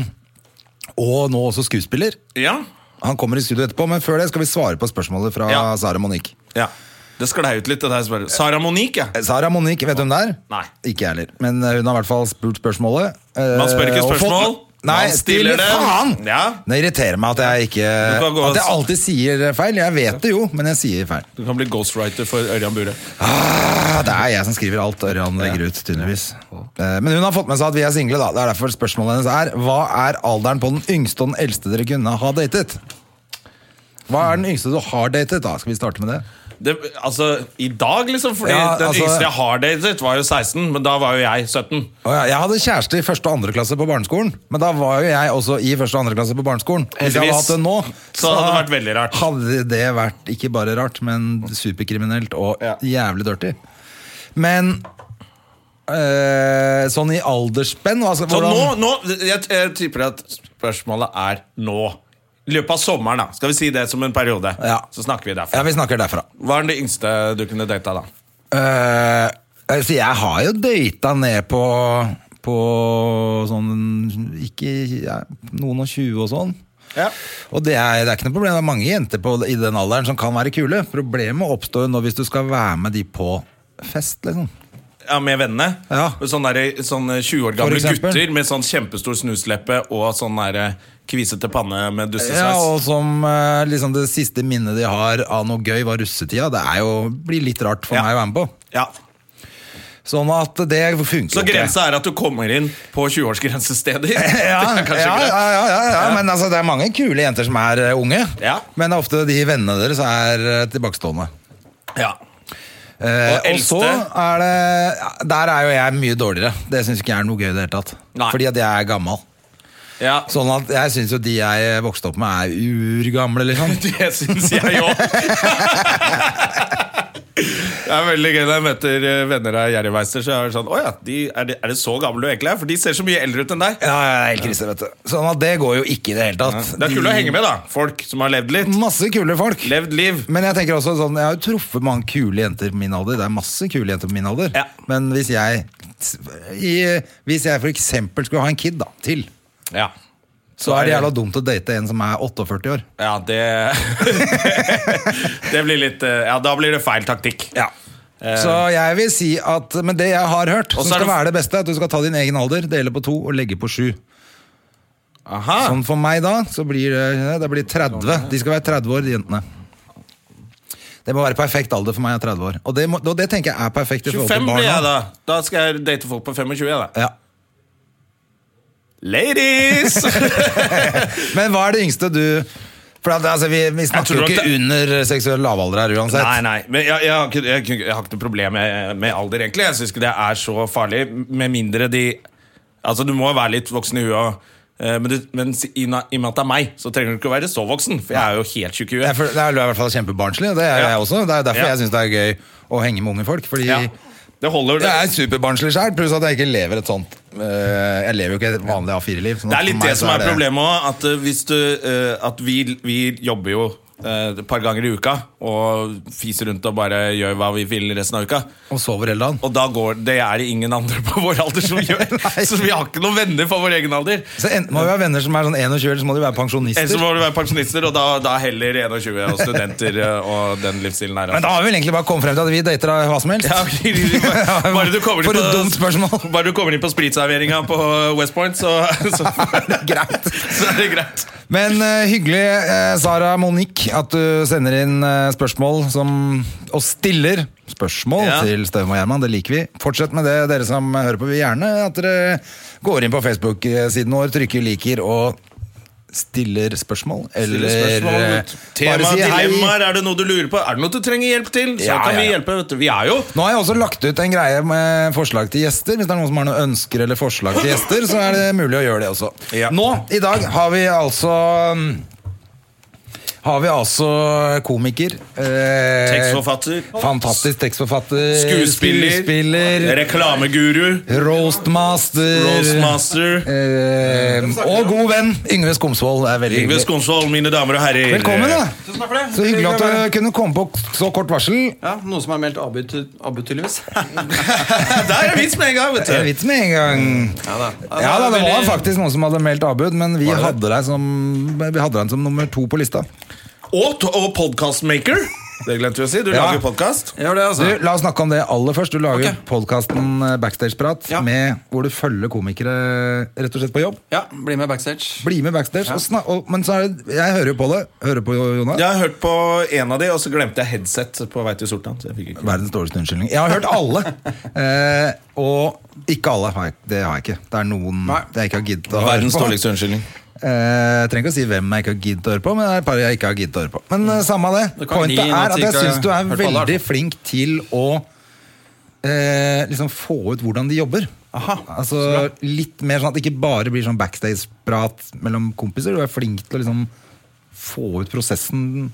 S2: Og nå også skuespiller.
S1: Ja.
S2: Han kommer i studio etterpå, men før det skal vi svare på spørsmålet fra
S1: Ja.
S2: Sara Monique.
S1: ja. Det sklei ut litt, det der. spørsmålet. Sara Monique, ja.
S2: Eh, Sara Monique, vet du hvem det er?
S1: Nei.
S2: Ikke jeg heller. Men eh, hun har i hvert fall spurt spørsmålet. eh,
S1: Man spør ikke
S2: og fått-
S1: spørsmål.
S2: Nei,
S1: Man
S2: stiller
S1: stiller
S2: det.
S1: det.
S2: Faen!
S1: Ja.
S2: Det irriterer meg at jeg ikke
S1: kan gå og-
S2: At jeg alltid sier feil. Jeg vet det jo, men jeg sier feil.
S1: Du kan bli ghostwriter for Ørjan Bure.
S2: Ah, det er jeg som skriver alt Ørjan legger ut, tydeligvis. Eh, Men hun har fått med seg at vi er single, da. Det er derfor spørsmålet hennes er Hva er alderen på den yngste og den eldste dere kunne ha datet? Hva er den yngste du har datet, da? Skal vi starte med det?
S1: Det, altså, I dag, liksom. Fordi
S2: Ja,
S1: den
S2: altså-
S1: yngste jeg har datet, var jo 16, men da var jo jeg 17.
S2: Å ja, jeg hadde kjæreste i første og andre klasse på barneskolen, men da var jo jeg også i første og andre klasse på barneskolen. Hvis jeg hadde
S1: Heldigvis.
S2: hatt det nå,
S1: Så hadde det vært veldig rart.
S2: Hadde det vært ikke bare rart, men superkriminelt og
S1: Ja.
S2: jævlig dirty. Men eh, sånn i aldersspenn altså,
S1: Så nå,
S2: hvordan-
S1: nå jeg, jeg tipper at spørsmålet er nå. I løpet av sommeren, da. Skal vi si det som en periode?
S2: Ja.
S1: Så snakker vi derfra.
S2: Ja, vi snakker derfra.
S1: Hva er det yngste du kunne data, da?
S2: Eh, altså, jeg har jo data ned på på sånn ikke ja, noen og tjue og sånn.
S1: Ja.
S2: Og det er, det er ikke noe problem. Det er mange jenter på, i den alderen som kan være kule. Problemet oppstår jo nå hvis du skal være med de på fest, liksom.
S1: Ja, med vennene.
S2: Ja.
S1: Sånne, der, sånne 20 år gamle
S2: For eksempel.
S1: gutter med sånn kjempestor snusleppe og sånn der kvisete panne med
S2: Ja,
S1: dussesveis.
S2: og som eh, liksom det siste minnet de har av noe gøy, var russetida. Det er jo, blir litt rart for
S1: Ja.
S2: meg å være med på.
S1: Ja.
S2: Sånn at det funker
S1: Så
S2: jo ikke.
S1: grensa er at du kommer inn på 20-årsgrensesteder.
S2: Ja,
S1: Det
S2: ja,
S1: er
S2: ja,
S1: kanskje
S2: ja,
S1: greit.
S2: ja, ja, men altså, det er mange kule jenter som er eh, unge.
S1: Ja.
S2: Men det er ofte de vennene deres er eh, tilbakestående.
S1: Ja.
S2: Eh,
S1: Og
S2: og,
S1: eldste?
S2: så er det ja, Der er jo jeg mye dårligere. Det syns ikke jeg er noe gøy i det hele tatt.
S1: Nei.
S2: Fordi at jeg er gammel.
S1: ja.
S2: Sånn at jeg syns jo de jeg vokste opp med, er urgamle, liksom.
S1: Det syns jeg jo Det er veldig gøy når jeg møter eh, venner av Jerryveister. Så er det sånn, «Å ja, de, er, det, er det så gammel du egentlig er? For de ser så mye eldre ut enn deg.
S2: Ja, ja, det er helt krise, vet du. Sånn at det går jo ikke i det hele tatt.
S1: Det er kult å henge med, da. Folk som har levd litt.
S2: Masse kule folk.
S1: Levd liv.
S2: Men jeg tenker også sånn, jeg har jo truffet mange kule jenter på min alder. Det er masse kule jenter på min alder.
S1: Ja.
S2: Men hvis jeg, i, hvis jeg for eksempel skulle ha en kid da, til,
S1: Ja.
S2: så er det jævla dumt å date en som er 48 år.
S1: Ja, det Det blir litt eh, Ja, da blir det feil taktikk.
S2: Så jeg vil si at, men det jeg har hørt,
S1: Eh. Og
S2: som
S1: så er
S2: skal
S1: det-
S2: være det beste, er at du skal ta din egen alder, dele på to og legge på sju.
S1: Aha.
S2: Sånn for meg da, så blir det, det blir
S1: Sånn,
S2: 30. De skal være 30 år, de jentene. Det må være perfekt alder for meg, jeg er 30 år. Og det, må, og det tenker jeg er perfekt i forhold
S1: 25
S2: til
S1: blir jeg,
S2: barna.
S1: da. Da skal jeg date folk på 25, jeg, da.
S2: Ja.
S1: Ladies!
S2: Men hva er det yngste du For at, altså, vi, vi snakker
S1: tror
S2: jo ikke
S1: at det-
S2: under seksuell lavalder her uansett.
S1: Nei, nei, men jeg, jeg, har ikke, jeg, kunne- jeg har ikke noe problem med, med alder, egentlig. Jeg syns ikke det er så farlig, med mindre de Altså, du må være litt voksen i huet. eh, Men, du, men si- i, na- i og med at det er meg, så trenger du ikke å være så voksen. For jeg er jo helt tjukk i
S2: Jeg
S1: huet.
S2: føler- Det er jo i hvert fall kjempebarnslig, og det er
S1: Ja.
S2: jeg også. Det er jo derfor
S1: Ja.
S2: jeg syns det er gøy å henge med unge folk. Fordi
S1: Ja. Det holder.
S2: jeg er superbarnslig sjøl, pluss at jeg ikke lever et sånt eh, Jeg lever jo ikke et vanlig A4-liv. sånn
S1: Det
S2: at
S1: er litt
S2: for meg
S1: det som
S2: så
S1: er problemet òg. At, eh, hvis du, eh, at vi, vi jobber jo eh, et par ganger i uka og fiser rundt og bare gjør hva vi vil resten av uka.
S2: Og sover hele dagen.
S1: Og da går, det er det ingen andre på vår alder som gjør. så vi har ikke noen venner for vår egen alder.
S2: Så enten må vi ha venner som er sånn 21, eller så må de være
S1: Ellers
S2: pensjonister.
S1: må du være pensjonister, og da, da heller 21 og studenter eh, og den livsstilen her.
S2: Men da har vi vel egentlig bare kommet frem til at vi dater av hva som helst.
S1: Ja, ok, bare, bare du kommer inn
S2: For et
S1: på-
S2: dumt spørsmål.
S1: Bare du kommer inn på spritserveringa på West Point, så, så,
S2: Greit.
S1: så er det greit.
S2: Men eh, hyggelig, eh, Sara Monique, at du sender inn eh, spørsmål som, og stiller spørsmål
S1: Ja.
S2: til Støm og Gjerman. Det liker vi. Fortsett med det, dere som hører på. Vi vil gjerne at dere går inn på Facebook-siden vår, trykker 'liker' og stiller spørsmål. Eller eh,
S1: Tema,
S2: bare si hei.
S1: dilemmaer, er det noe du lurer på? Er det noe du trenger hjelp til? Så
S2: Ja,
S1: kan
S2: ja,
S1: vi
S2: ja. Eh,
S1: hjelpe. Vet du. Vi er jo
S2: Nå har jeg også lagt ut en greie med forslag til gjester. Hvis det er noen som har noen ønsker eller forslag til gjester, så er det mulig å gjøre det også.
S1: Ja.
S2: Nå, i dag, har vi altså mm, Har vi altså komiker. eh,
S1: tekstforfatter,
S2: Fantastisk tekstforfatter.
S1: skuespiller,
S2: skuespiller
S1: reklameguru,
S2: roastmaster.
S1: roastmaster.
S2: eh, og god venn Yngve Skomsvold. Det er veldig
S1: Yngve
S2: hyggelig.
S1: Skonsvold, mine damer og herrer.
S2: Eh, Velkommen, da.
S4: Tusen takk for det.
S2: Så hyggelig at du kunne komme på så kort varsel.
S4: Ja, Noen som har meldt avbud, til- avbud tydeligvis.
S1: Der er vits med en gang,
S2: Det er
S1: vet du.
S2: vits med en gang.
S4: Ja da.
S2: Ja, da, det var
S4: veldig-
S2: faktisk noen som hadde meldt avbud, men vi hadde deg som, vi hadde deg som nummer to på lista.
S1: Og, t- og podcastmaker. Det glemte vi å si. Du
S2: Ja.
S1: lager podkast.
S4: Jeg gjør det,
S2: Du,
S4: altså.
S2: La oss snakke om det aller først. Du lager
S4: Ok.
S2: podcasten podkasten Backstageprat
S4: Ja.
S2: med- hvor du følger komikere rett og slett på jobb.
S4: Ja, Bli med backstage.
S2: Bli med backstage. Og snak, og, men så er det, jeg hører jo på det. Hører på Jonas.
S1: Jeg har hørt på en av de, og så glemte jeg headset på vei til Sortland. Så jeg fikk ikke
S2: Verdens dårligste unnskyldning. Jeg har hørt alle. eh, og ikke alle. har jeg- Det har jeg ikke. Det er noen
S4: Nei.
S2: jeg ikke har giddet å høre på.
S1: unnskyldning.
S2: Eh, Jeg trenger ikke å si hvem jeg ikke har giddet å høre på, men det er et par jeg ikke har giddet å høre på. Men eh, samme av det.
S4: Det kan
S2: Pointet
S4: gi noe
S2: er at
S4: til
S2: jeg
S4: ikke
S2: syns du
S4: har
S2: er
S4: hørt på alle,
S2: veldig
S4: altså.
S2: flink til å eh, liksom få ut hvordan de jobber. altså Litt mer sånn at det ikke bare blir sånn backstage-prat mellom kompiser. Du er flink til å liksom få ut prosessen.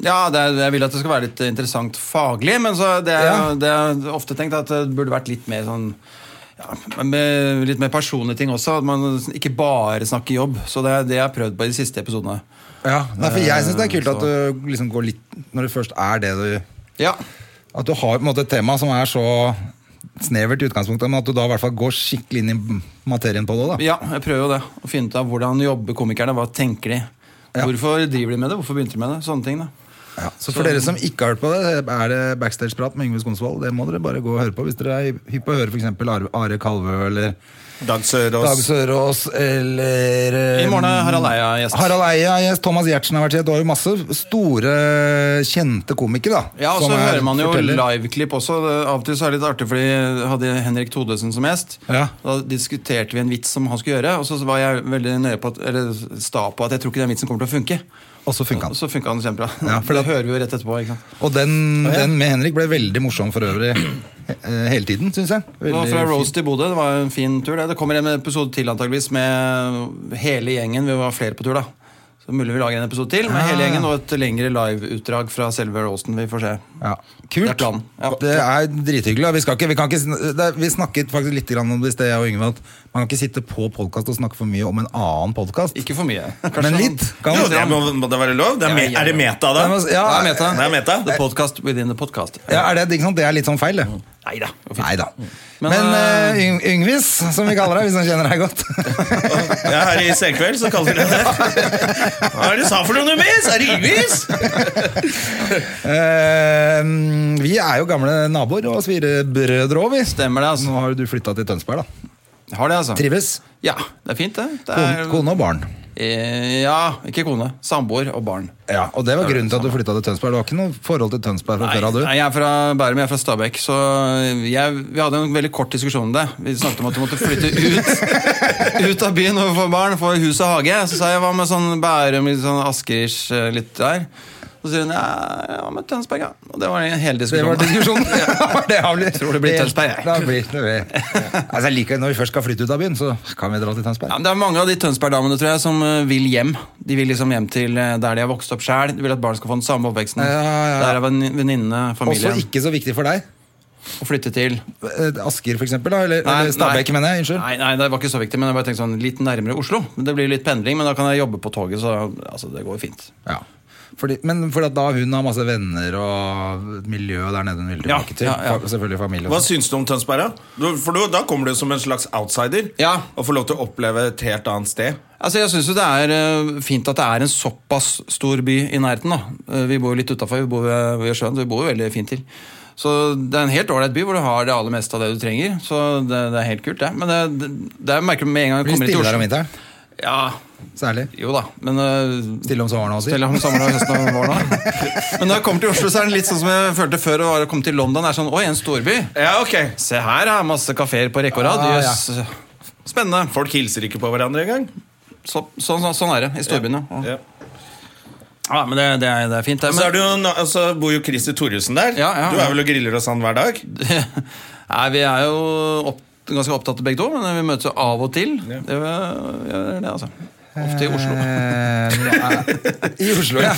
S4: Ja, det er, Jeg vil at det skal være litt eh, interessant faglig, men så det er,
S2: Ja.
S4: det er ofte tenkt at det burde vært litt mer sånn ja, med, Litt mer personlige ting også. At man ikke bare snakker jobb. Så det er det jeg har prøvd på i de siste episodene.
S2: Ja, Nei, for jeg syns det er
S4: Eh,
S2: kult at du liksom går litt Når du først er det du
S4: Ja,
S2: At du har på en måte et tema som er så snevert i utgangspunktet, men at du da i hvert fall går skikkelig inn i materien på det. da
S4: ja jeg prøver jo det. Å finne ut av hvordan jobber komikerne, hva tenker de?
S2: Ja.
S4: Hvorfor driver de med det? Hvorfor begynte de med det? Sånne ting, da.
S2: Ja, så for dere som ikke har hørt på det, er det backstage-prat med Yngve Skonsvold. Det må dere bare gå og høre på hvis dere er hypp på å høre f.eks. Are Kalvø eller
S1: Dag Sørås.
S2: Dag Sørås eller eh,
S4: I morgen er Harald Eia gjest.
S2: Harald Eia er gjest, Thomas Giertsen har vært gjest. Du har jo masse store, kjente komikere, da.
S4: Ja, og
S2: som
S4: så
S2: er-
S4: hører man jo
S2: forteller.
S4: liveklipp også. Av og til så er det litt artig, fordi jeg hadde Henrik Thodesen som gjest.
S2: Ja.
S4: Da diskuterte vi en vits som han skulle gjøre, og så var jeg veldig nøye på at, eller sta på at jeg tror ikke den vitsen kommer til å funke.
S2: Og så funka
S4: Og
S2: han.
S4: så funka den kjempebra.
S2: Ja, for
S4: for det
S2: det-
S4: hører vi jo rett etterpå. ikke sant?
S2: Og den, den med Henrik ble veldig morsom for øvrig eh, hele tiden, syns jeg.
S4: Det var
S2: Veldig
S4: fra
S2: fin.
S4: Rose til Bodø. Det var en fin tur. Det Det kommer en episode til antageligvis med hele gjengen. Vi var flere på tur, da. Så mulig vi lager en episode til med
S2: Ah.
S4: hele gjengen og et lengre liveutdrag fra selve Rosen. Vi får se.
S2: Ja.
S4: Det er
S2: Kult.
S4: planen. Ja.
S2: Det er drithyggelig. og Vi, skal ikke, vi, kan ikke, sn- det, er- vi snakket faktisk litt grann om det i sted, jeg og Yngve, at man kan ikke sitte på podkast og snakke for mye om en annen podkast.
S4: Ikke for mye.
S2: Men litt. Kan
S1: Jo,
S2: man,
S1: det må, må det være lov? Det er,
S4: Ja,
S1: me,
S4: ja, ja.
S1: er det meta, da?
S2: Det er mas- ja,
S4: det er meta.
S1: Det er meta.
S4: The podcast within the podcast.
S2: ja, er det, ikke sant? det er litt sånn feil, det.
S4: Nei da.
S2: Nei da.
S4: Men,
S2: Men eh, Yng- Yngvis, som vi kaller deg, hvis han kjenner deg godt.
S1: Ja, her i Senkveld så kaller de det det. Hva er det du sa for noe, Numis? Er det Yngvis?
S2: Eh, vi er jo gamle naboer og svirebrødre òg, vi.
S4: Stemmer det, altså.
S2: Nå har du flytta til Tønsberg, da.
S4: Har det, altså.
S2: Trives?
S4: Ja, det er fint, det. det
S2: Kone,
S4: er,
S2: kone og barn.
S4: Eh, Ja, ikke kone. Samboer og barn.
S2: Ja, Og det var grunnen til at du flytta til Tønsberg. Du har ikke noe forhold til Tønsberg fra før av, du?
S4: nei, jeg er fra Bærum, jeg er fra Stabekk. Så jeg, vi hadde en veldig kort diskusjon om det. Vi snakket om at du måtte flytte ut, ut av byen og få barn, få hus og hage. Så sa jeg hva med sånn Bærum, litt sånn Askerish, eh, litt der. Så sier hun ja, ja, med Tønsberg, ja. Og det var en hel
S2: Det
S4: diskusjon.
S2: var diskusjonen. det har blitt,
S4: Tror det blir Tønsberg, jeg.
S2: Da blir det det. Altså, jeg liker, når vi først skal flytte ut av byen, så kan vi dra til Tønsberg.
S4: Ja, men det er mange av de Tønsberg-damene tror jeg, som eh, vil hjem. De vil liksom hjem til eh, der de har vokst opp sjæl. De vil at barn skal få den samme oppveksten.
S2: Ja, ja, ja.
S4: Der er venn- venninnene,
S2: Også
S4: familien.
S2: ikke så viktig for deg.
S4: Å flytte til.
S2: Eh, Asker, for eksempel. Da, eller eller Stabekk, mener jeg. Unnskyld.
S4: Nei, nei, det var ikke så viktig, men jeg bare tenkte sånn litt nærmere Oslo. Men Det blir litt pendling, men da kan jeg jobbe på toget, så altså, det går jo fint.
S2: Ja. Fordi, men fordi at da hun har masse venner og et miljø der nede hun vil
S4: Ja,
S2: tilbake til.
S4: ja, ja.
S2: Fa- Selvfølgelig familie.
S1: Hva
S2: og sånn.
S1: syns du om Tønsberg, da? Du- For du, da kommer du som en slags outsider
S4: Ja.
S1: og får lov til å oppleve et helt annet sted.
S4: Altså, Jeg syns jo det er eh, fint at det er en såpass stor by i nærheten. da. Eh, Vi bor jo litt utafor, vi bor ved, ved sjøen, så vi bor jo veldig fint til. Så det er en helt ålreit by hvor du har det aller meste av det du trenger. Så det, det er helt kult, det. Men det, det, det er- merker du med en gang jeg
S2: Blir
S4: kommer hit
S2: stille der om
S4: til Oslo.
S2: vinteren.
S4: Ja,
S2: Særlig.
S4: jo da, men eh,
S2: Stille om sommeren også.
S4: Stella om sommeren og høsten og våren også. Men når jeg kommer til Oslo, så er den litt sånn som jeg følte før å være- komme til London. Det er sånn, Oi, en storby.
S1: Ja, ok
S4: Se her, er masse kafeer på rekke og rad.
S2: Ah, ja.
S4: Jøss. Spennende.
S1: Folk hilser ikke på hverandre engang.
S4: Så, sånn- sånn- sånn er det i storbyene. Ja.
S1: Ja.
S4: Ja, men det, det, er, det er fint, det.
S1: Så, er
S4: Men,
S1: det jo, na- så bor jo Christer Thoresen der.
S4: Ja, ja,
S1: du
S4: ja.
S1: er vel og griller hos han hver dag?
S4: nei, vi er jo opp, ganske opptatt begge to, men vi møtes jo av og til. Det, gjør det, altså. Ofte i Oslo.
S2: Eh, nå er- I Oslo, ja.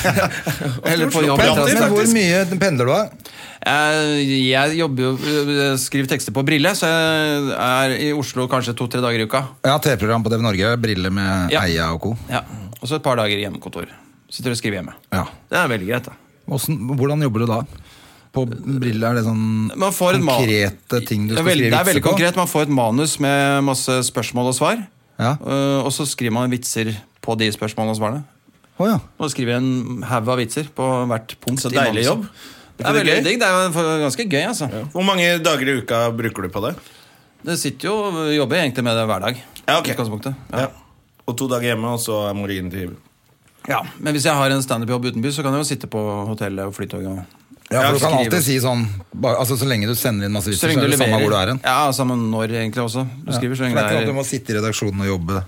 S4: Eller på
S1: Oslo,
S4: jobb.
S1: på jobb,
S2: Men
S4: Jeg,
S2: hvor mye pendler du av?
S4: jeg jobber jo jeg skriver tekster på Brille, så jeg er i Oslo kanskje to-tre dager i uka.
S2: Ja, TV-program på TV Norge. Briller med
S4: Ja.
S2: Eia og co.
S4: Ja, Og så et par dager i hjemmekontor. Sitter og skriver hjemme.
S2: Ja.
S4: Det er veldig greit, da.
S2: Hvordan, hvordan jobber du da? På briller, er det sånn
S4: Man får et ma-
S2: konkrete ting du
S4: Det er
S2: skal
S4: veldig, det
S2: skrive
S4: er veldig
S2: vitser på?
S4: konkret. Man får et manus med masse spørsmål og svar.
S2: Ja.
S4: Eh, og så skriver man vitser på de spørsmålene og svarene.
S2: Å ja.
S4: Og skriver en haug av vitser på hvert punkt.
S1: Så
S4: i
S1: deilig
S4: manuset.
S1: jobb.
S4: Det er
S1: Ikke det
S4: veldig
S1: gøy?
S4: digg. Det er jo for- ganske gøy, altså.
S1: Hvor mange dager i uka bruker du på det?
S4: Det sitter jo Jobber egentlig med det hver dag.
S1: Ja, ok.
S4: i utgangspunktet.
S1: Ja. Og to dager hjemme, og så er mor inn til
S4: Ja, Men hvis jeg har en standup-jobb utenby, så kan jeg jo sitte på hotellet og flytoget. og-
S2: Ja,
S1: Ja,
S2: for du kan
S4: skrive.
S2: alltid si sånn bare, altså, Så lenge du sender inn masse vitser, så, er det samme hvor du er hen.
S4: Ja, samme når, egentlig også. Du skriver så
S2: For det
S4: lenge
S2: er ikke sånn
S4: det er
S2: at du må sitte i redaksjonen og jobbe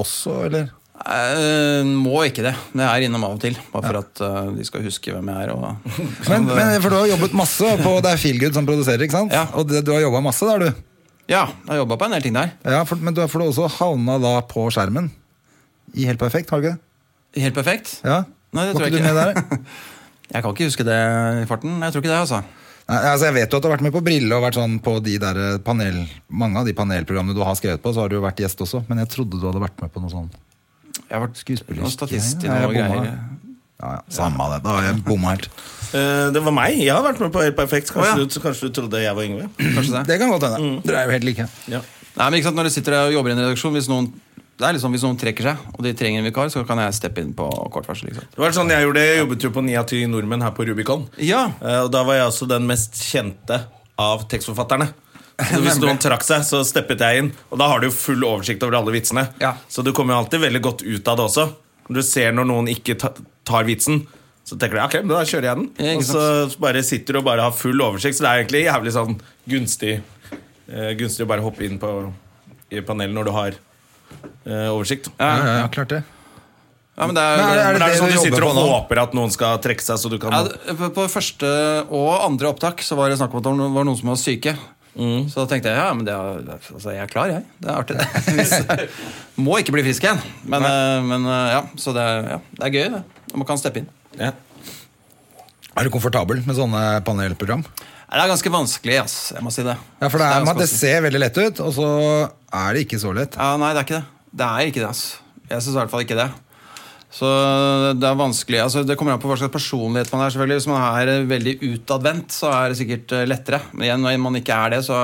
S2: også, eller?
S4: Eh, må ikke det. Det er innom av og til. Bare for at eh, de skal huske hvem jeg er. Og...
S2: Men, men for du har jobbet masse på Det er Feelgood som produserer, ikke sant?
S4: Ja.
S2: Og det, du har jobba masse der, du.
S4: Ja, jeg har jobba på en del ting der.
S2: Ja, for, men du har for du har også havna da på skjermen. I Helt perfekt, har du ikke det?
S4: Helt perfekt.
S2: Ja?
S4: Nei, det
S2: Var
S4: tror jeg
S2: du
S4: ikke.
S2: Med der?
S4: Jeg kan ikke huske det i farten. Jeg tror ikke det, altså.
S2: Nei, altså Jeg vet jo at du har vært med på Brille og vært sånn på de der panel, mange av de panelprogrammene du har skrevet på. Så har du jo vært gjest også, men jeg trodde du hadde vært med på noe sånn
S4: Jeg har vært
S2: Skuespiller,
S4: noen statist i
S2: ikke? Nei,
S4: noen
S2: jeg bomma.
S4: greier.
S2: Ja, ja. Samme av det. Da har jeg bomma helt.
S1: Eh, Det var meg. Jeg har vært med på Helt perfekt. Kanskje,
S4: Å, ja.
S1: du, kanskje du trodde jeg var Yngve?
S4: Kanskje det.
S2: Det kan godt hende.
S4: Mm.
S2: Dere er jo helt like.
S1: Ja.
S4: Mhm. Nei, men ikke sant, Når du sitter der og jobber i en redaksjon hvis noen, Det er liksom hvis noen trekker seg, og de trenger en vikar, så kan jeg steppe inn på kort varsel. Liksom.
S1: Det var sånn jeg gjorde Jeg jobbet jo på ni av ti nordmenn her på Rubicon.
S4: Ja.
S1: Eh, Og da var jeg også den mest kjente av tekstforfatterne. Så hvis noen trakk seg, så steppet jeg inn. Og da har du jo full oversikt over alle vitsene.
S4: Ja.
S1: Så du kommer jo alltid veldig godt ut av det også. Når du ser når noen ikke ta- tar vitsen, så tenker du ok, men da kjører jeg den.
S4: Ja, ikke
S1: og så bare sitter du og bare har full oversikt, så det er egentlig jævlig sånn gunstig, eh, gunstig å bare hoppe inn på, i panelet når du har eh, oversikt.
S4: Ja,
S2: Ja,
S4: ja.
S2: ja, klart det.
S4: ja, men det er,
S2: Men er
S1: Men
S2: det
S1: er det sånn
S2: du
S1: du sitter
S2: jobber
S1: og
S2: på nå?
S1: håper at noen skal trekke seg, så du kan
S4: ja, det- på- På første og andre opptak så var det snakk om at det var noen som var syke.
S2: Mm.
S4: Så da tenkte jeg ja, men det er, altså, jeg er klar, jeg. Det er artig, det. Hvis- Må ikke bli frisk igjen. Men, eh, men eh, ja, så det er, ja, det er gøy, det. Og Man kan steppe inn.
S1: Ja.
S2: Er du komfortabel med sånne panelprogram?
S4: Nei, Det er ganske vanskelig, ass. Jeg må si det.
S2: Ja, for det, er,
S4: ganske
S2: det
S4: vanskelig.
S2: ser veldig lett ut, og så er det ikke så lett.
S4: Ja, nei, det er ikke det. Det er ikke det, ass. Jeg syns i hvert fall ikke det. Så det er vanskelig. Altså, det kommer an på hva slags personlighet man er. selvfølgelig. Hvis man er eh, veldig utadvendt, så er det sikkert eh, lettere. Men igjen, når man ikke er det, så,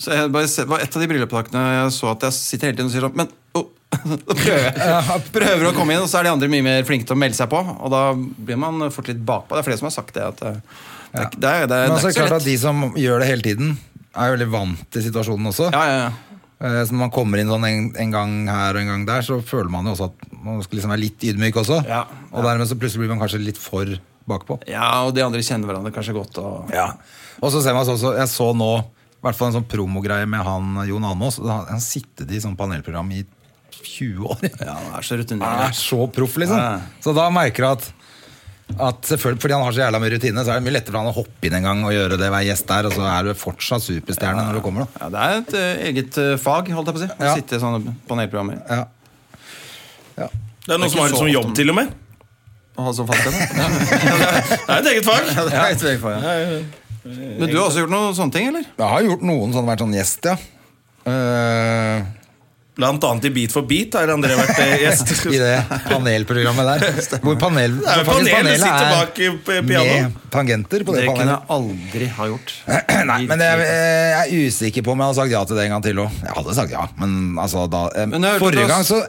S4: så jeg bare ser, Det var et av de bryllupsdagene jeg så at jeg sitter hele tiden og sier sånn Men oh, da prøver jeg. Prøver å komme inn, og så er de andre mye mer flinke til å melde seg på. Og da blir man fort litt bakpå. Det er flere som har sagt det. at eh, det er, ikke- det er, det er,
S2: Men
S4: det
S2: altså,
S4: er ikke
S2: klart
S4: så
S2: at
S4: lett.
S2: De som gjør det hele tiden, er jo veldig vant til situasjonen også.
S4: Ja, ja, ja.
S2: Eh, Så når man kommer inn sånn en, en gang her og en gang der, så føler man jo også at man skal liksom være litt ydmyk også.
S4: Ja.
S2: Og dermed så plutselig blir man kanskje litt for bakpå.
S4: ja, og de andre kjenner hverandre kanskje godt. og...
S2: Og så ser man også, jeg så nå i hvert fall en sånn promogreie med han Jon Almaas. og Han han sittet i sånn panelprogram i 20 år.
S4: Ja, han er så
S2: Han er
S4: rutinert.
S2: så proff, liksom.
S4: Ja.
S2: Så da merker jeg at, at selvfølgelig, fordi han har så jævla mye rutine, så er det mye lettere for han å hoppe inn en gang og gjøre det, være gjest der, og så er du fortsatt superstjerne når du kommer, da.
S4: Ja, det er et eh, eget eh, fag, holdt jeg på å si. Å
S2: Ja.
S4: sitte i sånne panelprogrammer.
S1: Det
S2: Ja.
S1: er noen
S4: ikke
S1: som har det som
S4: så ofte.
S1: jobb, til og med.
S4: Og ha sånn fastlønn.
S1: Det er et eget fag.
S4: Ja. Men du har også gjort noen sånne ting, eller?
S2: Jeg har gjort noen sånn, vært sånn gjest, ja. Eh,
S1: Blant annet i Beat for beat har André vært eh, gjest.
S2: I det panelprogrammet der. Hvor panel,
S1: Det er jo
S2: hvor faktisk
S1: panelet sitter
S2: er
S1: bak i p- pianoet.
S2: Med tangenter på det,
S4: Det kunne
S2: panelet.
S4: jeg aldri ha gjort.
S2: Nei, men jeg, eh, jeg er usikker på om jeg hadde sagt ja til det en gang til òg. Jeg hadde sagt ja, men altså da eh,
S4: Men jeg hørte
S2: Forrige
S4: at-
S2: gang så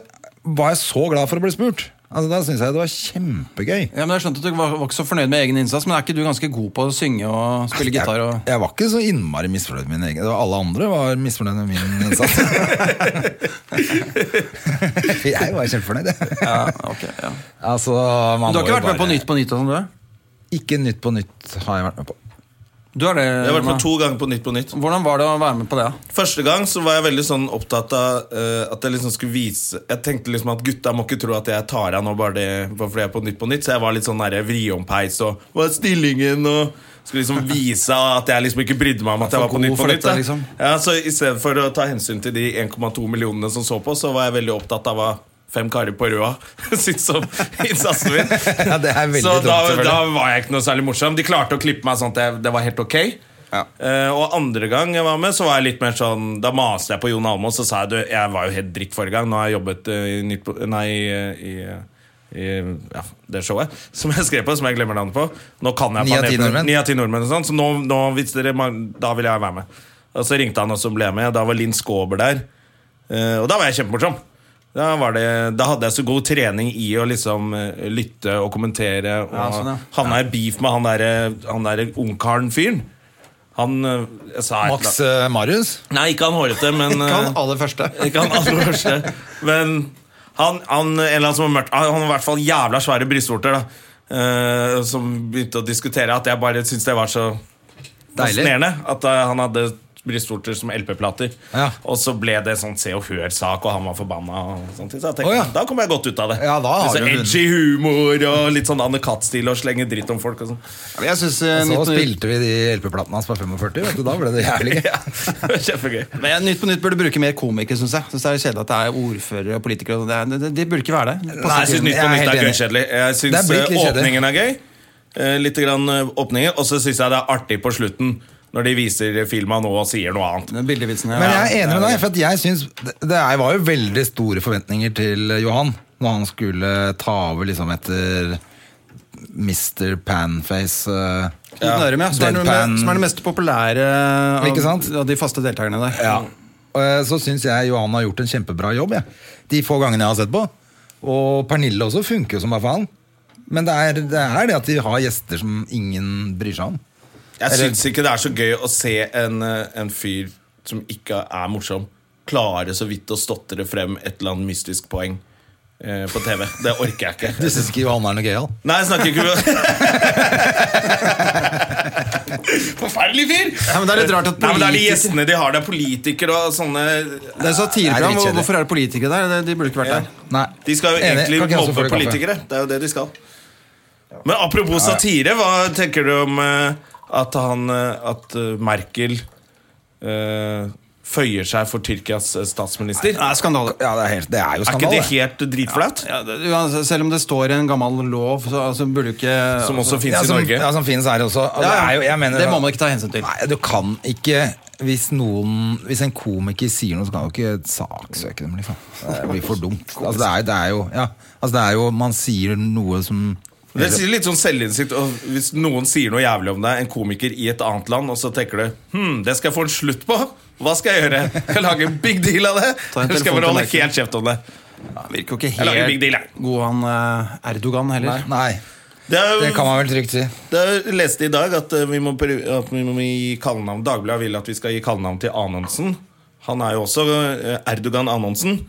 S2: var jeg så glad for å bli spurt. Altså, da syns jeg det var kjempegøy.
S4: Ja, men Jeg skjønte at du var, var ikke så fornøyd med egen innsats, men er ikke du ganske god på å synge og spille gitar?
S2: Jeg,
S4: og...
S2: jeg var ikke så innmari misfornøyd med min egen. Det var alle andre var misfornøyd med min innsats. jeg var kjempefornøyd, jeg.
S4: Ja, ok, ja.
S2: Altså,
S4: Men
S2: man
S4: du
S2: må
S4: har ikke
S2: jo
S4: vært med på
S2: bare-
S4: Nytt på Nytt? og sånn, Du er?
S2: Ikke Nytt på Nytt har jeg vært med på.
S4: Du er det,
S1: Jeg har vært
S4: Emma.
S1: med to ganger på Nytt på Nytt.
S4: Hvordan var det å være med på det? da?
S1: Første gang så var jeg veldig sånn opptatt av eh, at jeg liksom skulle vise Jeg tenkte liksom at gutta må ikke tro at jeg tar av nå bare, det, bare fordi jeg er på Nytt på Nytt. Så jeg var litt sånn der vriompeis og Hva er stillingen? og skulle liksom vise at jeg liksom ikke brydde meg om at jeg var
S4: For
S1: på
S4: god
S1: Nytt på
S4: for
S1: Nytt.
S4: dette,
S1: da.
S4: liksom.
S1: Ja, så I stedet for å ta hensyn til de 1,2 millionene som så på, så var jeg veldig opptatt av hva fem karer på Røa syntes om innsatsen min.
S2: Ja, det er veldig
S1: så
S2: dumt,
S1: da,
S2: selvfølgelig.
S1: da var jeg ikke noe særlig morsom. De klarte å klippe meg sånn at jeg, det var helt ok.
S2: Ja.
S1: Eh, og andre gang jeg var med, så var jeg litt mer sånn Da maste jeg på Jon Almaas og sa jeg, du, jeg var jo helt dritt forrige gang. Nå har jeg jobbet eh, i nytt på- Nei, eh, i, eh, i ja, det showet som jeg skrev på, som jeg glemmer navnet på. Nå kan jeg
S2: Ni av ti
S1: panelprogrammet.
S2: nordmenn.
S1: Ni av ti nordmenn og sånn, så nå, nå hvis dere, man- da vil jeg være med. Og så ringte han og så ble jeg med, og da var Linn Skåber der. Eh, og da var jeg kjempemorsom. Da, var det, da hadde jeg så god trening i å liksom eh, lytte og kommentere. Og
S4: Ja, sånn, ja.
S1: havna i beef med han derre han der ungkaren-fyren. Han eh, jeg sa et
S2: Max
S1: eller annet-
S2: eh, Marius?
S1: Nei, ikke han hårete, men
S4: Ikke han
S1: eh,
S4: aller første.
S1: ikke han aller første. Men han, han, en eller annen som har mørkt, han har i hvert fall jævla svære brystvorter. da. Eh, som begynte å diskutere at jeg bare syntes det var så
S2: Deilig.
S1: fascinerende. At eh, han hadde brystvorter som LP-plater.
S2: Ja.
S1: Og så ble det sånn Se og Hør-sak, og han var forbanna. Og sånt, så jeg tenkte,
S2: Å, ja.
S1: Da kommer jeg godt ut av det.
S2: Ja, da har
S1: Litt
S2: du
S1: sånn
S2: vunnet.
S1: edgy humor og litt sånn Anne Katt-stil og slenge dritt om folk. og sånn
S4: Jeg synes,
S2: Så
S4: Nytt på Nytt
S2: spilte vi de LP-platene hans på 45, vet du, da ble det jævlig gøy.
S1: ja, det var Kjempegøy.
S4: Men jeg- Nytt på Nytt burde bruke mer komikere, syns jeg. Synes det er kjedelig at det er ordførere og politikere. og sånn. Det, er- det, det burde ikke være det.
S1: Nei, jeg syns Nytt på
S2: Jeg er
S1: Nytt er
S2: helt
S1: gøykjedelig. Jeg
S2: Det er
S1: syns eh,
S2: blitt litt kjedelig.
S1: åpningen er gøy. Eh, Litt grann eh, åpningen, og så syns jeg det er artig på slutten. Når de viser filma nå og sier noe annet.
S4: Den bildevitsen her,
S2: Men
S4: ja.
S2: jeg er enig med deg, for at jeg synes, det, det er- var jo veldig store forventninger til Johan når han skulle ta over liksom etter Mr. Panface. eh.
S4: Knut Nærum, ja. Som er, den,
S2: Deadpan.
S4: som er den mest populære av,
S2: Ikke sant?
S4: av de faste deltakerne der.
S2: Eh, Så syns jeg Johan har gjort en kjempebra jobb, jeg. de få gangene jeg har sett på. Og Pernille også funker jo som bare faen. Men det er, det er det at de har gjester som ingen bryr seg om.
S1: Jeg syns ikke det er så gøy å se en, eh, en fyr som ikke er morsom, klare så vidt å stotre frem et eller annet mystisk poeng eh, på TV. Det orker jeg
S2: Du
S1: ikke.
S2: syns ikke Johanne er noe gøyal?
S1: Nei, jeg snakker ikke Forferdelig fyr!
S4: Ja, men det er litt rart at
S1: Nei, men Det er de
S4: politikere-
S1: gjestene de har. Det er politikere og sånne
S4: Det er satireprogram.
S2: Nei, det er
S4: hvor-
S2: dritkjedelig.
S4: Hvorfor er det politikere der? Det- De burde ikke vært der.
S2: Nei.
S1: De skal jo
S2: Enig. Kan ikke
S1: egentlig
S2: jeg også få
S1: mobbe
S2: litt kaffe?
S1: politikere. Det er jo det de skal. Men apropos satire, hva tenker du om eh, at han eh, At eh, Merkel eh, føyer seg for Tyrkias eh, statsminister?
S4: Nei, skandale.
S2: Ja, det er, helt, det er jo
S1: Er ikke det
S2: skandale.
S1: helt dritflaut?
S4: Ja, det, uansett, selv om det står i en gammel lov, så altså, burde du ikke
S1: Som også fins
S2: Ja,
S1: i
S2: som,
S1: Norge.
S2: ja, som finnes her også. Og det, er jo, jeg mener,
S4: det må man ikke ta hensyn til.
S2: Nei, du kan ikke hvis, noen, hvis en komiker sier noe, så kan du ikke saksøke dem. Liksom. Det blir for dumt. Altså, det, er, det, er jo, ja, altså, det er jo Man sier noe som
S1: Det sier litt sånn selvinnsikt. Og hvis noen sier noe jævlig om deg, en komiker i et annet land, og så tenker du Hm, det skal jeg få en slutt på. Hva skal jeg gjøre? Skal jeg lage en big deal av det?
S4: Ta en
S1: Eller skal jeg
S4: telefon til
S1: bare holde
S4: Merkel.
S1: helt kjeft om det?
S4: Ja, virker jo ikke
S1: Jeg lager en
S4: helt
S1: big deal, jeg.
S4: god han eh, Erdogan heller.
S2: Nei,
S1: Det, er,
S2: det kan man vel trygt si.
S1: Da leste jeg i dag at eh, vi må, prøve- at vi må gi kallenavn Dagbladet vil at vi skal gi kallenavn til Anundsen. Han er jo også eh, Erdogan Anundsen.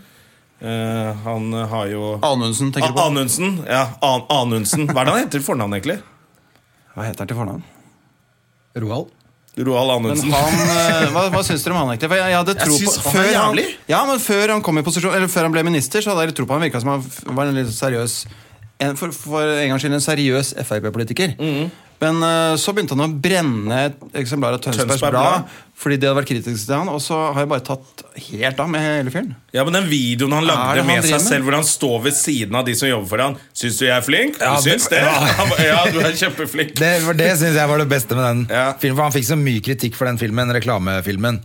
S1: Eh, Han har jo
S4: Anundsen, tenker du
S1: A-
S4: på?
S1: Anundsen. Ja, An Anundsen. Hva er det han heter til fornavn, egentlig?
S4: Hva heter han til fornavn?
S2: Roald?
S1: Roald
S4: Men
S1: Anundsen.
S4: han, eh, hva, hva syns dere om han egentlig? For jeg, jeg hadde tro
S1: syns
S4: på
S1: han er
S4: før han,
S1: jævlig.
S4: ja, men før han kom i posisjon Eller før han ble minister, så hadde jeg litt tro på han virka som han f- var en litt seriøs en, for, for en gangs skyld en seriøs Frp-politiker.
S1: Mm.
S4: Men eh, så begynte han å brenne et eksemplar av Tønsbergs
S1: Tønsberg Blad.
S4: Blad fordi det hadde vært kritisk til han, og så har jeg bare tatt helt av med hele fyren.
S1: Ja, men Den videoen han
S4: Er
S1: lagde
S4: det han
S1: med seg
S4: driver med?
S1: selv, hvor han står ved siden av de som jobber for han Syns du jeg er flink?
S2: Ja,
S1: du syns
S2: men-
S1: det?
S2: ja.
S1: Han ba, Ja, du er kjempeflink.
S2: Det, var- det syns jeg var det beste med den
S1: Ja.
S2: filmen. For han fikk så mye kritikk for den filmen, reklamefilmen.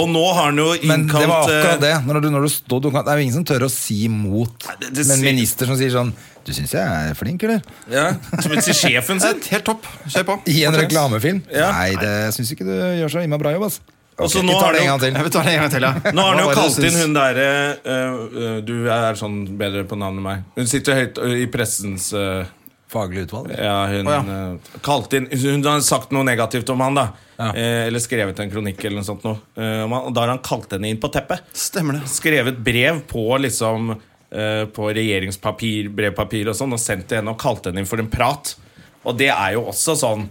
S1: Og nå har han jo
S2: Men
S1: innkalt
S2: det var
S1: eh,
S2: akkurat det. Når du, når du stod, du kan, det er jo ingen som tør å si imot.
S1: Nei, det- det
S2: Men
S1: sier-
S2: minister som sier sånn Du syns jeg er flink, eller?
S1: Ja, som til sjefen
S4: Det
S1: sin.
S4: er Helt topp. Kjør på.
S2: I en reklamefilm?
S1: Ja.
S2: Nei, det syns ikke du gjør så innmari bra jobb, ass.
S1: Og så nå
S2: Ok, vi
S1: har
S2: tar det
S1: du-
S2: en gang til.
S4: Jeg vil ta det en gang til, ja.
S1: Nå har
S4: Hva
S1: han jo
S4: var det du
S1: kalt inn
S4: syns?
S1: hun derre eh, eh, Du er sånn bedre på navnet enn meg. Hun sitter høyt eh, i pressens eh,
S2: Faglig utvalg.
S1: Ja, hun
S4: Å, ja.
S1: eh, kalt inn Hun har sagt noe negativt om han, da.
S2: Ja.
S1: Eh, eller skrevet en kronikk eller noe sånt. Noe. Eh, om han- og da har han kalt henne inn på teppet.
S4: Stemmer det.
S1: Skrevet brev på liksom eh, På regjeringspapir, brevpapir og sånn, og sendt til henne og kalt henne inn for en prat. Og det er jo også sånn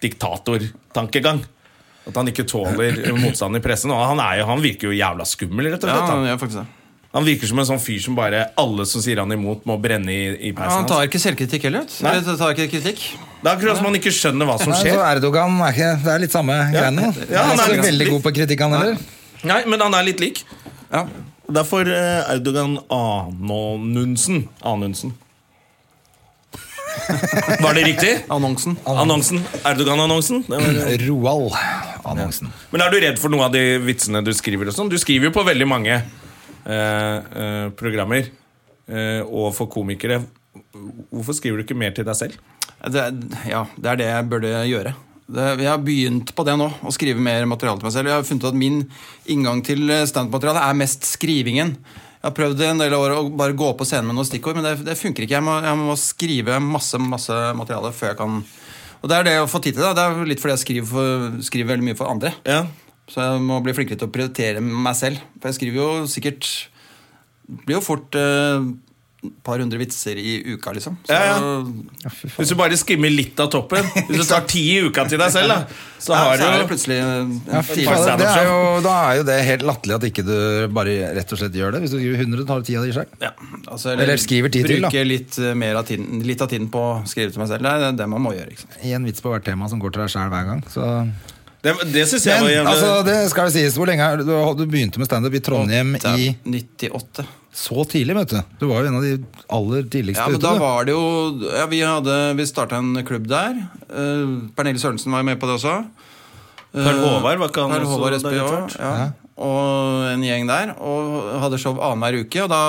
S1: diktatortankegang. At han ikke tåler motstand i pressen. Og han, er jo, han virker jo jævla skummel, rett og
S4: Ja,
S1: slett. da.
S4: han gjør faktisk det.
S1: Han virker som en sånn fyr som bare alle som sier han imot, må brenne i, i
S4: Ja, han
S1: peisen hans.
S4: tar ikke selvkritikk heller. vet du.
S1: Nei.
S4: Eller tar ikke kritikk.
S1: Det er akkurat som han ikke skjønner hva som
S2: Nei,
S1: skjer.
S2: så Erdogan er ikke Det er litt samme greiene. da.
S1: Ja, han
S2: han er
S1: er
S2: ikke
S1: ganske
S2: veldig
S1: lik.
S2: god på kritikk, han heller.
S4: altså-
S1: Nei, men han er litt lik.
S4: Ja.
S1: Derfor eh, Erdogan Anonunsen. Anundsen. Var det riktig?
S4: Annonsen.
S1: Annonsen. Erdogan-annonsen. Det var-
S2: Roald Annonsen.
S1: Men er du redd for noen av de vitsene du skriver? og sånn? Du skriver jo på veldig mange eh, eh, programmer. Eh, og for komikere. Hvorfor skriver du ikke mer til deg selv?
S4: Det, er- ja, det er det jeg burde gjøre. Det, jeg har begynt på det nå, å skrive mer materiale til meg selv. Jeg har funnet ut at min inngang til standup-materiale er mest skrivingen. Jeg har prøvd i en del år å bare gå på scenen med noen stikkord, men det, det funker ikke. Jeg må, jeg må skrive masse masse materiale før jeg kan Og det er det å få tid til. Da. Det er jo litt fordi jeg skriver, for, skriver veldig mye for andre.
S1: Ja.
S4: Så jeg må bli flinkere til å prioritere meg selv. For jeg skriver jo sikkert det Blir jo fort eh, et par hundre vitser i uka, liksom. Så,
S1: Ja, Hvis du bare skimmer litt av toppen Hvis du tar ti i uka til deg selv, da, så har
S4: så er det
S1: du
S4: plutselig en
S2: Ja, fy
S4: time.
S2: faen, det er
S1: standup-show.
S2: jo, da er jo det helt latterlig at ikke du bare rett og slett gjør det. Hvis du skriver 100, tar du 10 av de selv.
S4: Ja, altså,
S2: Eller skriver ti til, da.
S4: Bruker litt, eh, mer av tiden, litt av tiden på å skrive til meg selv. Det er det man må gjøre. ikke sant?
S2: Én vits på hvert tema som går til deg selv hver gang. Så.
S1: Det, det syns jeg
S2: Men
S1: var jævlig
S2: altså, det skal jo sies, hvor lenge er det- du, du begynte med standup i Trondheim
S4: Det er
S2: i
S4: 98.
S2: så tidlig, vet du. Du var jo en av de aller tidligste
S4: Ja, men
S2: ute.
S4: da
S2: du.
S4: var det jo ja, Vi, hadde- vi starta en klubb der. Eh, Pernille Sørensen var jo med på det også. Eh,
S1: Per Håvard, var ikke han
S4: Per
S1: også
S4: Håvard
S1: der
S4: Espejå,
S1: etter hvert?
S4: ja. Og en gjeng der. Og hadde show annenhver uke. Og da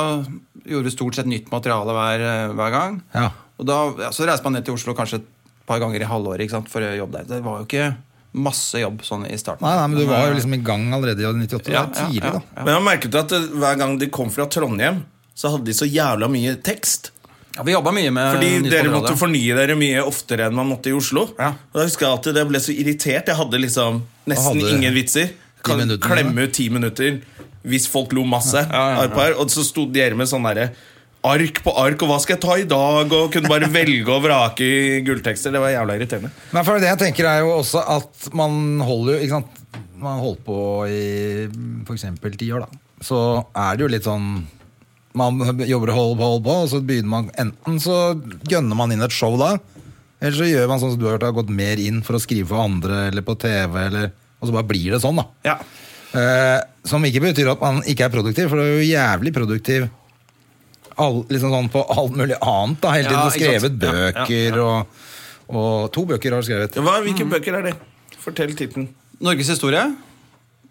S4: gjorde vi stort sett nytt materiale hver, hver gang.
S2: Ja.
S4: Og da, ja, så reiste man ned til Oslo kanskje et par ganger i halvåret ikke sant, for å jobbe der. Det var jo ikke masse jobb sånn i starten.
S2: Nei, nei, men du var jo liksom i gang allerede i 98.
S4: Ja,
S2: det er tidlig,
S4: ja, ja.
S2: da.
S1: Men jeg merket at eh, hver gang de kom fra Trondheim, så hadde de så jævla mye tekst.
S4: Ja, vi jobba mye med
S1: Fordi
S4: nytt
S1: dere
S4: materiale.
S1: måtte fornye dere mye oftere enn man måtte i Oslo.
S4: Eh, Ja.
S1: Og da husker jeg alltid det ble så irritert. Jeg hadde liksom nesten
S2: Hadde
S1: ingen vitser. Kan
S2: minutter,
S1: klemme ut ti minutter hvis folk lo masse. ark på ark. Og så sto dere med sånn derre ark på ark, og hva skal jeg ta i dag? Og kunne bare velge og vrake i gulltekster. Det var jævla irriterende.
S2: Nei, for det jeg tenker er jo også at man holder jo, ikke sant Man holdt på i for eksempel ti år da Så er det jo litt sånn Man jobber og holder på, holder på Og så begynner man, enten så gønner man inn et show da Eller så gjør man sånn som du har hørt har gått mer inn for å skrive for andre Eller på TV, eller Og så bare blir det sånn da
S1: Ja.
S2: Eh, som ikke betyr at man ikke er produktiv, for du er jo jævlig produktiv all, liksom sånn på alt mulig annet. da, Hele tiden
S4: Ja,
S2: Du har skrevet
S4: ikke sant? Ja,
S2: bøker Og, og To bøker har du skrevet.
S1: Hva, hvilke bøker er det? Fortell tittelen.
S4: Norges historie.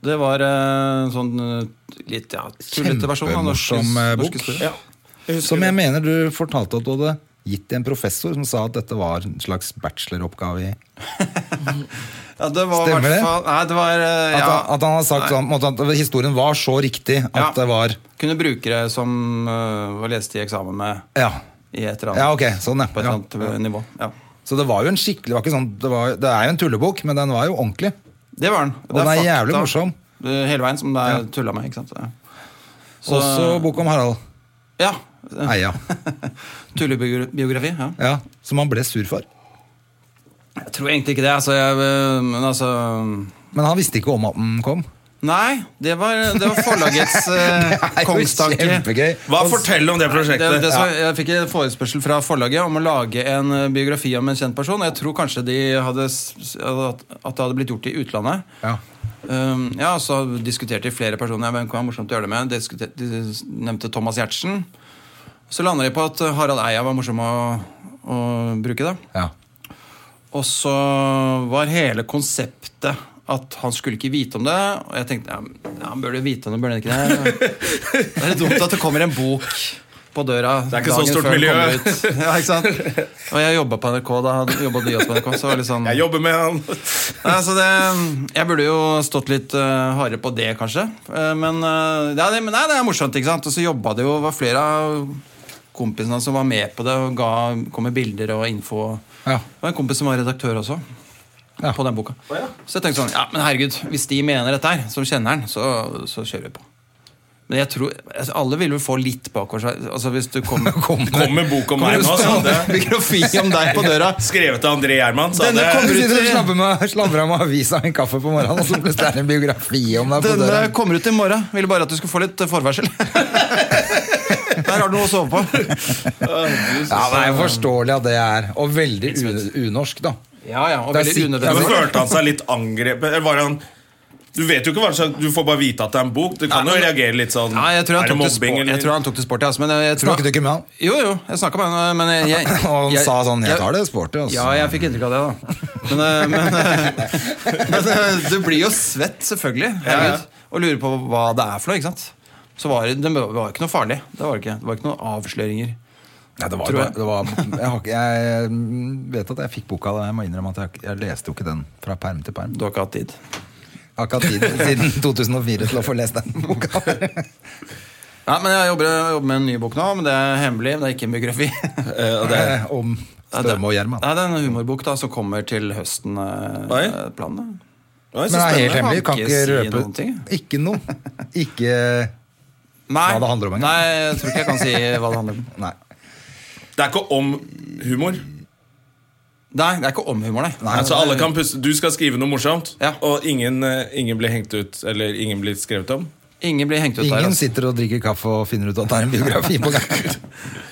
S4: Det var eh, en sånn eh, litt ja, tullete versjon av norsk,
S2: Kjempemorsom, eh, bok.
S4: norsk historie.
S1: Ja. Jeg husker
S2: Som
S1: det.
S2: jeg mener du fortalte at du hadde gitt til en professor som sa at dette var en slags bacheloroppgave i
S4: Ja, det var
S2: Stemmer
S4: Stemmer
S2: det?
S4: det? Nei, det var
S2: At,
S4: eh, ja,
S2: han, at han har sagt
S4: Nei.
S2: sånn på en måte at historien var så riktig at
S4: Ja.
S2: det var
S4: Kunne brukere som eh, var lest i eksamen med
S2: Ja.
S4: i et eller annet.
S2: ja, ok. Sånn, ja.
S4: På et
S2: ja.
S4: eller annet eh, nivå. Ja.
S2: Så det var jo en skikkelig det var ikke sånn, det, var, det er jo en tullebok, men den var jo ordentlig.
S4: Det var den.
S2: Og den er jævlig morsom.
S4: eh, Hele veien, som det er tulla med. ikke sant? Ja. Så-
S2: Også bok om Harald
S4: Ja. eh,
S2: Eia.
S4: Tullebiografi. ja.
S2: Ja, som han ble sur for.
S4: Jeg tror egentlig ikke det. altså, jeg, eh, Men altså
S2: Men han visste ikke om at den kom.
S4: Nei, det var, det var forlagets eh,
S2: Det er jo
S4: kongstanke.
S2: Kjempegøy.
S1: Hva fortell om det
S4: Det,
S1: prosjektet?
S4: det som, jeg fikk en forespørsel fra forlaget om å lage en eh, biografi om en kjent person. og Jeg tror kanskje de hadde, s- at at det hadde blitt gjort i utlandet.
S2: Ja.
S4: Um, ja, Så diskuterte de flere personer. Hvem kan være morsomt å gjøre det med? Diskuter- De s- nevnte Thomas Giertsen. Så landa de på at Harald Eia var morsom å, å bruke. da.
S2: Ja.
S4: Og så var hele konseptet at han skulle ikke vite om det. Og jeg tenkte ja, men han burde jo vite om det, burde han ikke det? Det er litt dumt at det kommer en bok på døra
S1: er ikke så stort miljø.
S4: Ja, ikke sant? Og jeg jobba på NRK da. Jobba de også på NRK? Så var det litt sånn
S1: Jeg jobber med han.
S4: Nei, så det, jeg burde jo stått litt eh, hardere på det, kanskje. Eh, men eh, ja, det, men nei, det er morsomt, ikke sant. Og så jobba det jo var flere av kompisene som var med på det og ga, kom med bilder og info.
S2: Ja.
S4: Det var en kompis som var redaktør også.
S2: Ja.
S4: På den boka. Så jeg tenkte sånn, ja, men herregud, hvis de mener dette her, som kjenner den, så, så kjører vi på. Men jeg tror, altså, alle vil vel få litt bakover seg. Altså, hvis du kommer
S2: Kom.
S1: Kom med bok om meg nå. sa
S4: med
S1: det.
S4: biografi om deg på døra
S1: Skrevet av André Gjerman. sa
S4: Denne
S1: det.
S4: kommer
S2: Du sitter og
S4: Brutt-
S2: slabber med, slabber av med avisa og en kaffe på morgenen, og så plutselig er det en biografi om deg på døra.
S4: Denne kommer ut i morgen. Ville bare at du skulle få litt eh, forvarsel. Der har du noe å sove på.
S2: Ja, det er jo forståelig at det er. Og veldig u- unorsk, da.
S4: Ja, ja, og
S2: Det er
S4: veldig
S1: Ja,
S2: sikkert-
S1: men
S4: unødvendig.
S1: Altså, Følte han seg litt angrepet? Eller var han Du vet jo ikke hva slags Du får bare vite at det er en bok. Du kan
S4: Nei,
S1: jo
S4: men-
S1: reagere litt sånn
S4: Nei, jeg tror han
S1: Er det
S4: tok til
S1: mobbing,
S4: sport. Jeg tror
S1: eller?
S4: han tok til sport, ja. altså, Men jeg, jeg tror
S2: Snakket du ikke med han?
S4: Jo, jo, jeg snakka med henne, men jeg, jeg,
S2: Og han
S4: jeg-
S2: sa sånn 'Jeg tar det sporty', altså.
S4: Ja, jeg fikk inntrykk av det, da. Men, eh, men, eh, men eh, du blir jo svett, selvfølgelig. Herregud, og lurer på hva det er for noe. ikke sant? Så var det, det var ikke noe farlig. Det var det ikke, det var ikke noen avsløringer.
S2: Nei, det var,
S4: Tror
S2: bare-
S4: jeg.
S2: det var, jeg, har, ikke- jeg mm, vet at jeg fikk boka, da. jeg må innrømme at jeg, har ikke- jeg leste jo ikke den fra perm til perm.
S4: Du har ikke hatt tid.
S2: Jeg har ikke hatt tid siden 2004 til å få lest den boka.
S4: Ja, men jeg jobber, jeg jobber med en ny bok nå, men det er hemmelig. Men det er ikke en biografi.
S1: Eh, og det er-
S2: Eh, Om Støme og Gjerman.
S4: Nei, det er en humorbok da som kommer til høsten. eh,
S1: Oi.
S4: eh, Planen.
S1: Oi, så
S2: Men det er helt
S1: spennende.
S2: hemmelig. Kan
S4: Kan
S2: ikke
S4: ikke si
S2: røpe
S4: noen ting.
S2: Ikke noe. Ikke
S4: Nei,
S2: Hva det handler om, egentlig.
S4: Nei, jeg tror ikke jeg kan si hva det handler om.
S2: Nei.
S1: Det er ikke om humor.
S4: Nei, det er ikke om humor, nei.
S1: altså alle kan puste Du skal skrive noe morsomt,
S4: Ja.
S1: og ingen, eh, ingen blir hengt ut Eller ingen blir skrevet om.
S4: Ingen blir hengt ut der.
S2: Ingen
S4: Altså.
S2: sitter og drikker kaffe og finner ut at det er en biografi på gang.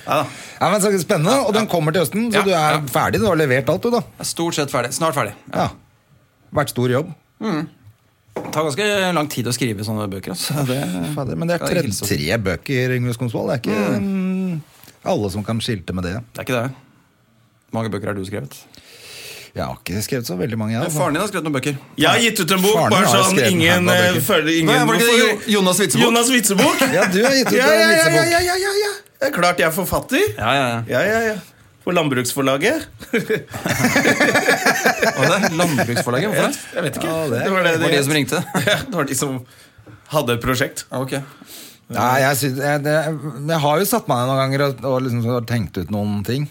S4: Ja, da.
S2: Ja, men så Spennende. Og den kommer til høsten, så
S4: Ja,
S2: du er
S4: ja.
S2: ferdig. Du har levert alt, du, da.
S4: Jeg er stort sett ferdig. Snart ferdig.
S2: Ja. Vært stor jobb.
S4: Det tar ganske lang tid å skrive sånne bøker. Altså. Det,
S2: Fader, men det er
S4: Skal jeg
S2: tre,
S4: hilse opp?
S2: tre bøker, Yngve Skonsvold. Det er ikke mm, alle som kan skilte med det.
S4: det er ikke det. Hvor mange bøker har du skrevet?
S2: Jeg har ikke skrevet så veldig mange, jeg. altså.
S4: Faren din har skrevet noen bøker.
S1: Jeg har gitt ut en bok,
S2: Faren
S1: bare
S2: har
S1: sånn
S2: skrevet den her,
S1: ingen
S2: da,
S1: eh,
S2: Birgit.
S1: føler ingen
S4: Nei, var det ikke
S1: Hvorfor-
S4: det Jo- Jonas Witzeboe?
S1: Jonas Witzebok?
S2: Ja, du har gitt ut
S1: ja,
S2: en
S1: ja, ja, ja,
S2: vitsebok.
S1: ja, ja, ja, ja. Det er klart jeg er forfatter.
S4: Ja, ja, ja.
S1: Ja, ja, ja. På Landbruksforlaget.
S4: Og det er Landbruksforlaget? Hvorfor det?
S1: Jeg vet ikke.
S2: Ja, det er-
S1: det var det,
S4: Det var de som ringte?
S1: Ja, det var de som hadde et prosjekt.
S4: Ja, ok.
S2: Nei, jeg, synes, jeg, det, jeg har jo satt meg ned noen ganger og, og liksom så har tenkt ut noen ting.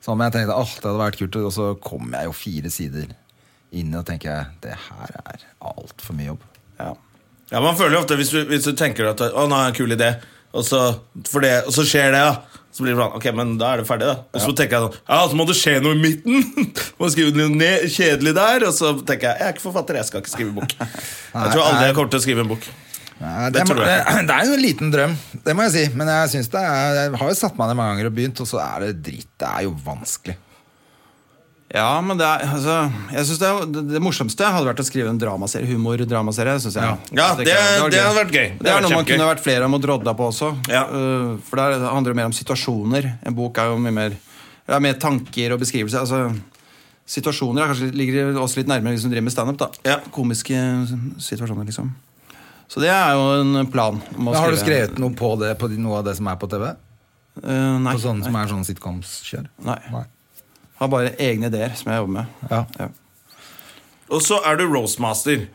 S2: Som jeg tenkte åh, det hadde vært kult, og så kom jeg jo fire sider inn og tenker jeg, det her er altfor mye jobb.
S4: Ja.
S1: Ja, man føler jo ofte hvis du, hvis du tenker at Å, nå er det en kul idé og så, for det, og så skjer det, da Så blir det sånn, ok, men da er det ferdig da Og så tenker jeg sånn, ja, så må det skje noe i midten Må skrive noe ned, kjedelig der Og så tenker jeg, jeg er ikke forfatter, jeg skal ikke skrive bok Jeg tror aldri jeg kommer til å skrive en bok
S2: Nei,
S1: Det
S2: det,
S1: tror jeg
S2: det, det er jo en liten drøm, det må jeg si. Men jeg, synes det er, jeg har jo satt meg ned mange ganger og begynt, og så er det dritt. Det er jo vanskelig.
S4: Ja, men det er, altså, jeg synes det, er- det, det morsomste hadde vært å skrive en dramaserie. Humor-dramaserie. synes jeg.
S1: Ja,
S4: At
S1: det-
S4: kan-
S1: det hadde vært gøy.
S4: Det,
S1: Det hadde
S4: er noe
S1: vært
S4: man
S1: kjempegøy.
S4: kunne vært flere om og drodda på også.
S1: Ja.
S4: Eh, for der handler det mer om situasjoner. En bok er jo mye mer Det er mer tanker og beskrivelser. Altså, situasjoner er kanskje, ligger oss litt nærmere hvis du driver med standup. da.
S1: Ja.
S4: Komiske situasjoner, liksom. Så det er jo en plan. om å
S2: Men har du
S4: skrive-
S2: skrevet noe på, det, på de- noe av det som er på TV?
S4: Eh, nei.
S2: På sånn som er sånn sitcoms-kjør?
S4: nei. Har bare egne ideer som jeg jobber med.
S2: Ja.
S1: Og så er du roastmaster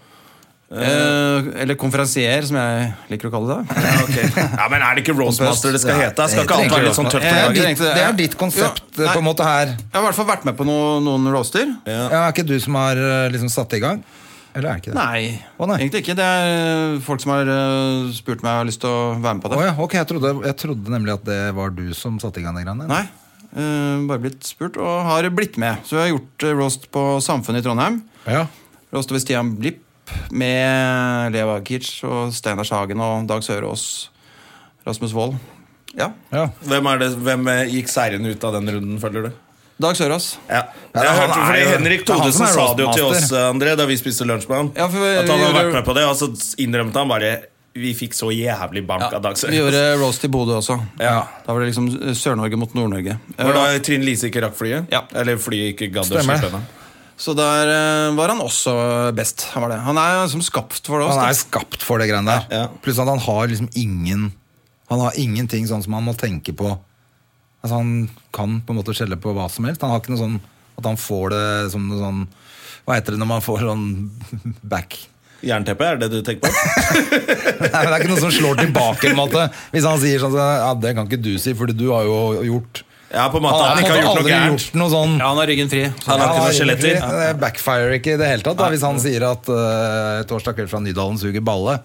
S4: Eh, eller konferansier, som jeg liker å kalle det.
S1: ja, ok. ja, men er det ikke roastmaster det skal
S2: Ja,
S1: hete? Skal ikke alt
S2: trenger
S1: være
S2: du
S1: litt sånn
S2: ikke.
S1: tøft
S4: om
S2: Det er
S4: dagen.
S2: ditt-
S4: Tenkte det,
S2: Det
S4: ja.
S2: er ditt konsept
S4: Ja, nei.
S2: på en måte her.
S4: Jeg har i hvert fall vært med på noe, noen roaster.
S2: Ja. er ikke du som har eh, liksom satt det i gang? Eller er det ikke det?
S4: Nei,
S2: Å, nei.
S4: egentlig ikke. Det er øh, folk som har øh, spurt meg og har lyst til å være med på
S2: Å
S4: det.
S2: ja, ok, jeg trodde, jeg trodde nemlig at det var du som satte i gang de greiene.
S4: Nei, øh, bare blitt spurt og har blitt med. Så jeg har gjort øh, roast på Samfunnet i Trondheim.
S2: Ja.
S4: Roast over Stian Blipp med Lea Wakic og Steinar Sagen og Dag Sørås. Rasmus Wold. Ja,
S2: Ja.
S1: Hvem, er det, hvem eh, gikk seieren ut av den runden, føler du?
S4: Dag Sørås.
S1: Ja.
S2: Ja,
S1: jeg
S2: han
S1: hørte,
S2: er
S1: fordi
S2: jo-
S1: Henrik
S2: det er han som
S1: Thodesen
S2: er
S1: sa det jo til oss eh,
S2: roastmaster.
S1: André, da vi spiste lunsj med han.
S4: Ja, for vi-
S1: at han
S4: vi
S1: hadde
S4: gjorde-
S1: vært med på det, og så innrømte han bare Vi fikk så jævlig bank av Dag
S4: vi
S1: Søren.
S4: gjorde roast i Bodø også.
S1: Ja.
S4: Da var det liksom øh, Sør-Norge mot Nord-Norge.
S1: Var da
S4: Øh,
S1: Trine Lise ikke rakk flyet?
S4: Ja.
S1: Eller flyet ikke gadd å
S2: Stemmer.
S1: slippe henne?
S4: Så der øh, var han også best. Han, var det. han er som skapt for det. også,
S2: Han
S4: da.
S2: er skapt for det greiene der.
S1: Ja.
S2: Pluss at han har liksom ingen Han har ingenting sånn som han må tenke på. Altså Han kan på en måte skjelle på hva som helst. Han har ikke noe sånn at han får det som noe sånn Hva heter det når man får sånn back?
S1: Jernteppe, er det det du tenker på?
S2: Nei, men Det er ikke noe som slår tilbake. på en måte Hvis han sier sånn så, Ja, det kan ikke du si, for du har jo gjort
S1: Ja, på en måte. Han
S2: på en
S1: ikke har
S2: måte
S1: gjort noe
S2: aldri
S1: gærent.
S2: gjort noe sånn
S4: Ja, han har ryggen fri. Så
S1: Han har
S2: Ja,
S1: ikke noen
S2: det er
S1: skjeletter.
S2: riktig. Det backfirer ikke i det hele tatt. Da. Hvis han sier at eh, 'Torsdag kveld fra Nydalen suger balle',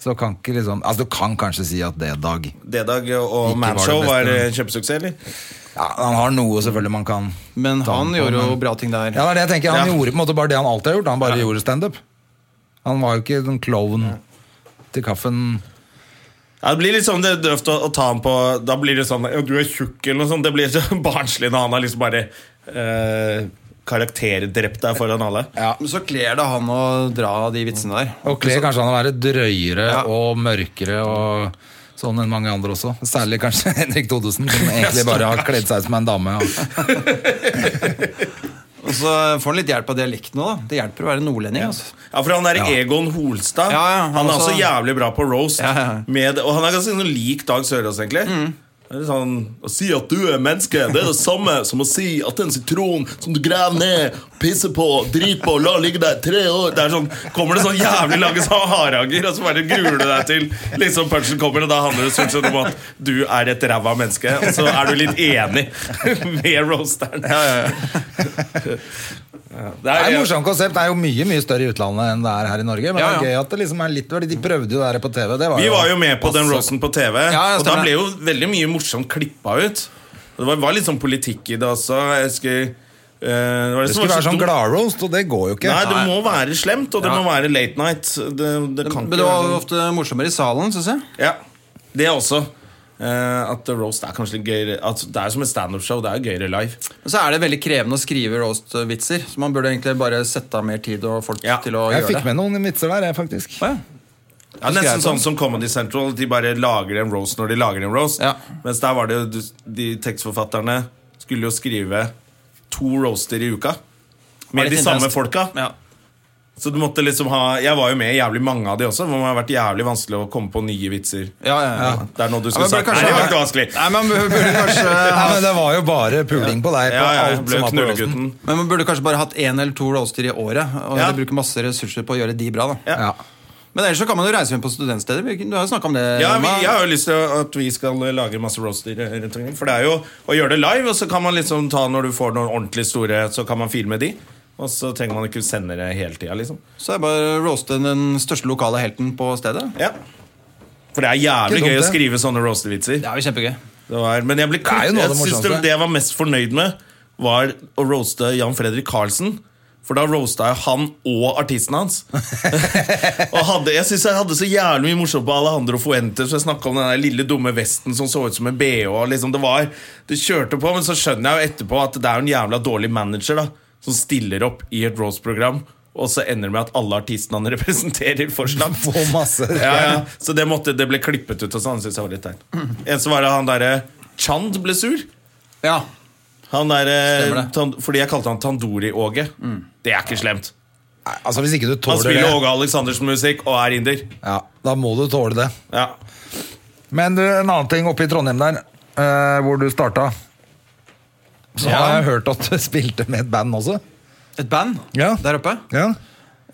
S2: så kan ikke liksom Altså, du kan kanskje si at det er dag.
S1: D-Dag
S2: Ikke
S1: og
S2: var det
S1: Manshow
S2: beste,
S1: var eh,
S2: men-
S1: kjempesuksess, eller?
S2: Ja, han har noe selvfølgelig man kan
S4: Men
S2: ta
S4: han
S2: på,
S4: gjorde jo
S2: men-
S4: bra ting der.
S2: Ja, det er det jeg tenker. Han
S1: Ja.
S2: gjorde på en måte bare det han alltid har gjort. Han bare gjorde standup. Han var jo ikke en sånn klovn til kaffen.
S1: Ja, det blir litt sånn det er døvt å, å ta han på Da blir det sånn ja, 'du er tjukk' eller noe sånt. Det blir så barnslig når han har liksom bare eh, karakterdrept deg foran alle.
S4: Men så kler det han å dra de vitsene der.
S2: Og kler kanskje han å være drøyere
S4: Ja.
S2: og mørkere og sånn enn mange andre også. Særlig kanskje Henrik Thodesen, som egentlig bare har kledd seg ut som en dame. Og
S4: Og så får han litt hjelp av dialekten òg, da. Det hjelper å være nordlending. Altså.
S1: Ja, for han der
S2: Ja.
S1: Egon Holstad
S4: Ja, ja,
S1: han,
S4: han
S1: er
S4: også-
S1: også jævlig bra på roast.
S4: Ja, ja.
S1: Med, og han er ganske sånn lik Dag Sørås, egentlig. Det er litt Sånn, å si at du er menneske, det er det samme som å si at en sitron som du graver ned, pisser på, driter på, lar ligge der tre år Det er sånn, Kommer det sånn jævlig lange sånn hardhager, og så bare gruer du deg til liksom punchen kommer, og da handler det stort sett om at du er et ræva menneske, og så er du litt enig med roasteren. Det
S2: Det er
S1: er,
S2: et morsomt konsept. Det er jo mye mye større i utlandet enn det er her i Norge. Men
S4: Ja, ja.
S2: det er gøy at det liksom er litt De prøvde jo det her på TV. Det var
S1: Vi var jo med på den roasten på TV,
S4: ja,
S1: og da
S4: stemmer
S1: ble
S4: det.
S1: jo veldig mye morsomt klippa ut. Og Det var, var litt sånn politikk i det også. Jeg husker eh, det var
S2: Det skulle være sånn
S1: dumt.
S2: gladroast, og det går jo ikke.
S1: Nei, det må være slemt, og det
S4: Ja.
S1: må være late night. Det, det kan
S4: Men
S1: ikke
S4: det var
S1: være sånn.
S4: ofte morsommere i salen, syns jeg.
S1: Ja, Det også. Eh, at roast er kanskje litt gøyere at Det er som et standup-show. Det er gøyere live.
S4: Men så er det veldig krevende å skrive roast-vitser, så man burde egentlig bare sette av mer tid og folk
S1: Ja,
S4: til å
S2: jeg
S4: gjøre
S2: fikk
S4: det.
S2: med noen vitser der, jeg, faktisk.
S4: Å, ja.
S1: Ja, Nesten
S4: jeg
S1: sånn som Comedy Central. De bare lager en roast når de lager en roast.
S4: Ja.
S1: Mens der var det jo de tekstforfatterne skulle jo skrive to roaster i uka.
S4: Var
S1: Med de
S4: litt
S1: samme
S4: intenst.
S1: folka.
S4: Ja.
S1: Så du måtte liksom ha Jeg var jo med i jævlig mange av de også, hvor det har vært jævlig vanskelig å komme på nye vitser.
S4: Ja, ja, ja.
S1: Det er noe du
S4: Ja,
S1: skulle
S4: men burde
S1: sagt. Nei,
S4: kanskje-
S1: det var ikke vanskelig.
S4: Nei, man burde, burde kanskje
S2: Nei, men Det var jo bare puling på deg. På
S1: Ja, ja, jeg
S2: alt
S1: ble
S2: som var på roasten.
S1: knullegutten.
S4: Men man burde kanskje bare hatt én eller to roaster i året. Og
S1: Ja.
S4: heller bruke masse ressurser på å gjøre de bra. da
S1: Ja.
S2: Ja.
S4: Men ellers så kan man jo reise rundt på studentsteder. Vi- Du har jo snakka om det.
S1: Ja, vi,
S4: Emma.
S1: jeg har jo lyst til at vi skal lage masse roaster eh, rundt omkring. For det er jo å gjøre det live, og så kan man liksom ta når du får noen ordentlig store, så kan man filme de. Og så trenger man ikke sende det hele tida, liksom.
S4: Så er det bare å roaste den største lokale helten på stedet.
S1: Ja. For det er jævlig
S2: Ikke dumt,
S1: gøy å
S2: det.
S1: skrive sånne roaster-vitser.
S4: Det er jo kjempegøy.
S1: Det var, men jeg ble
S2: er jo noe
S1: jeg
S2: av det
S1: synes det,
S2: morsomste.
S1: det jeg var mest fornøyd med, var å roaste Jan Fredrik Karlsen. For da roasta jeg han og artisten hans. og hadde, jeg synes jeg hadde så jævlig mye morsomt på Alejandro Fuentes. For jeg snakket om den der lille dumme vesten som så ut som en bh. og Liksom det var, det kjørte på, Men så skjønner jeg jo etterpå at det er jo en jævla dårlig manager da som stiller opp i et roast-program, og så ender det med at alle artistene han representerer, får slapp.
S2: Få masse
S1: Ja, ja. Så det, måtte, det ble klippet ut, og sånn. Synes jeg var litt teit. En som var det han derre Chand ble sur.
S4: Ja.
S1: Han der,
S4: Stemmer
S1: eh,
S4: det.
S1: tan, fordi jeg kalte han Tandori-Åge. Det er ikke slemt.
S2: Nei, Altså Hvis ikke du
S1: Han
S2: tåler
S1: spiller
S2: det,
S1: Åge Aleksandersen musikk og er inder.
S2: ja, da må du tåle det.
S1: Ja.
S2: Men du, en annen ting oppe i Trondheim der, eh, hvor du starta. Så
S4: Ja.
S2: har jeg hørt at du spilte med et band også.
S4: Et band
S2: Ja.
S4: der oppe.
S2: Ja,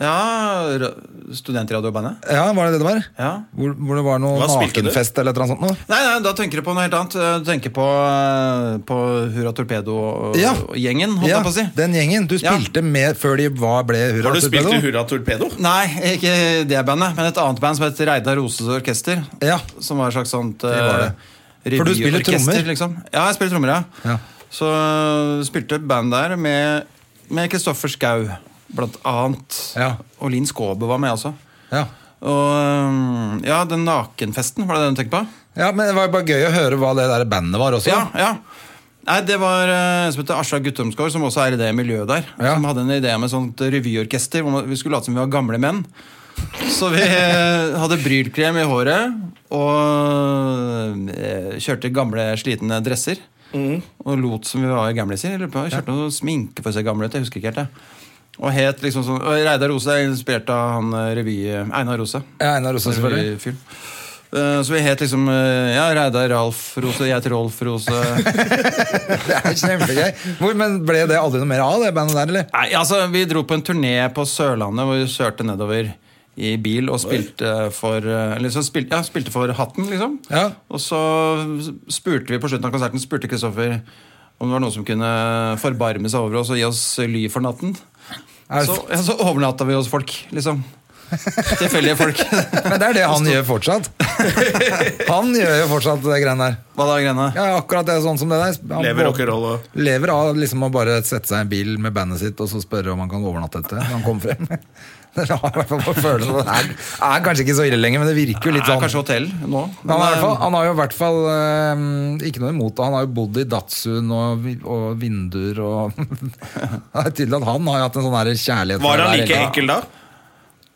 S4: Ja, ra- Studentradiobandet.
S2: ja var det det det var?
S4: Ja.
S2: Hvor, hvor det var noe
S1: Hva spilte du?
S2: nakenfest eller et eller annet sånt? Noe?
S4: Nei, nei, da tenker du på noe helt annet. Du tenker på, eh, på Hurra
S2: Ja.
S4: Torpedo-gjengen, holdt
S2: Ja,
S4: jeg på å si.
S2: den gjengen. Du
S4: Ja.
S2: spilte med før de var, ble Hurra
S1: Har du spilt i
S2: Torpedo.
S1: Hurra Torpedo?
S4: Nei, ikke det bandet, men et annet band som het Reidar Roses Orkester.
S2: Ja.
S4: Som var et slags sånt
S2: var det.
S4: eh,
S2: For du spiller
S4: revyorkester,
S2: trommer?
S4: Liksom. Ja, jeg spiller trommer, ja.
S2: Ja.
S4: Så øh, spilte band der med med Kristoffer Schau, blant annet.
S2: Ja.
S4: Og Linn Skåbe var med også.
S2: Ja.
S4: Og øhm, ja, den nakenfesten, var det det du tenkte på?
S2: ja, men det var bare gøy å høre hva det der bandet var også.
S4: Ja, ja. Nei, det var eh, en som heter Asla Guttormsgaard, som også er i det miljøet der.
S2: Ja.
S4: Som hadde en idé om et sånt revyorkester. hvor man- Vi skulle late som vi var gamle menn. Så vi eh, hadde brylkrem i håret og eh, kjørte gamle, slitne dresser. Og lot som vi var gamliser. Jeg lurer på, jeg Kjørte noe sminke for å se gamle ut. jeg husker ikke helt det. Og het liksom sånn, og Reidar Rose er inspirert av han eh, revy... Einar Rose.
S2: Ja, Einar Rosen, selvfølgelig.
S4: Fyren. Eh, Så vi het liksom eh, Ja, Reidar Ralf Rose, jeg heter Rolf Rose.
S2: Det er kjempegøy. Hvor, men ble det aldri noe mer av det bandet der, eller?
S4: Nei, altså, vi dro på en turné på Sørlandet hvor vi kjørte nedover i bil og spilte for eh, liksom spilte, Ja, spilte for Hatten, liksom.
S2: Ja.
S4: Og så spurte vi på slutten av konserten Spurte Kristoffer om det var noen som kunne forbarme seg over oss og gi oss ly for natten.
S2: Er-
S4: Så, ja, så overnatta vi hos folk, liksom. Tilfeldige folk.
S2: Men det er det han gjør fortsatt. Han gjør jo fortsatt det greiene der.
S4: Hva da, Grena?
S2: Ja, akkurat det er sånn som det der. Han
S1: Lever
S2: vå-
S1: rock'n'roll og
S2: Lever av liksom å bare sette seg i en bil med bandet sitt og så spørre om han kan overnatte etter når han kommer frem. Det er, i hvert fall på følelsen. Det er, er kanskje ikke så ille lenger, men det virker jo litt
S4: Det er
S2: sånn.
S4: kanskje hotell nå.
S2: Men han, er, i hvert
S4: eh,
S2: fall, han har jo i hvert fall eh, ikke noe imot det. Han har jo bodd i Datsun og, vi- og vinduer og Det er tydelig at han har jo hatt en sånn her
S1: Var
S2: kjærlighet for
S1: han
S2: det
S1: like
S2: der hele-
S1: ekkel da?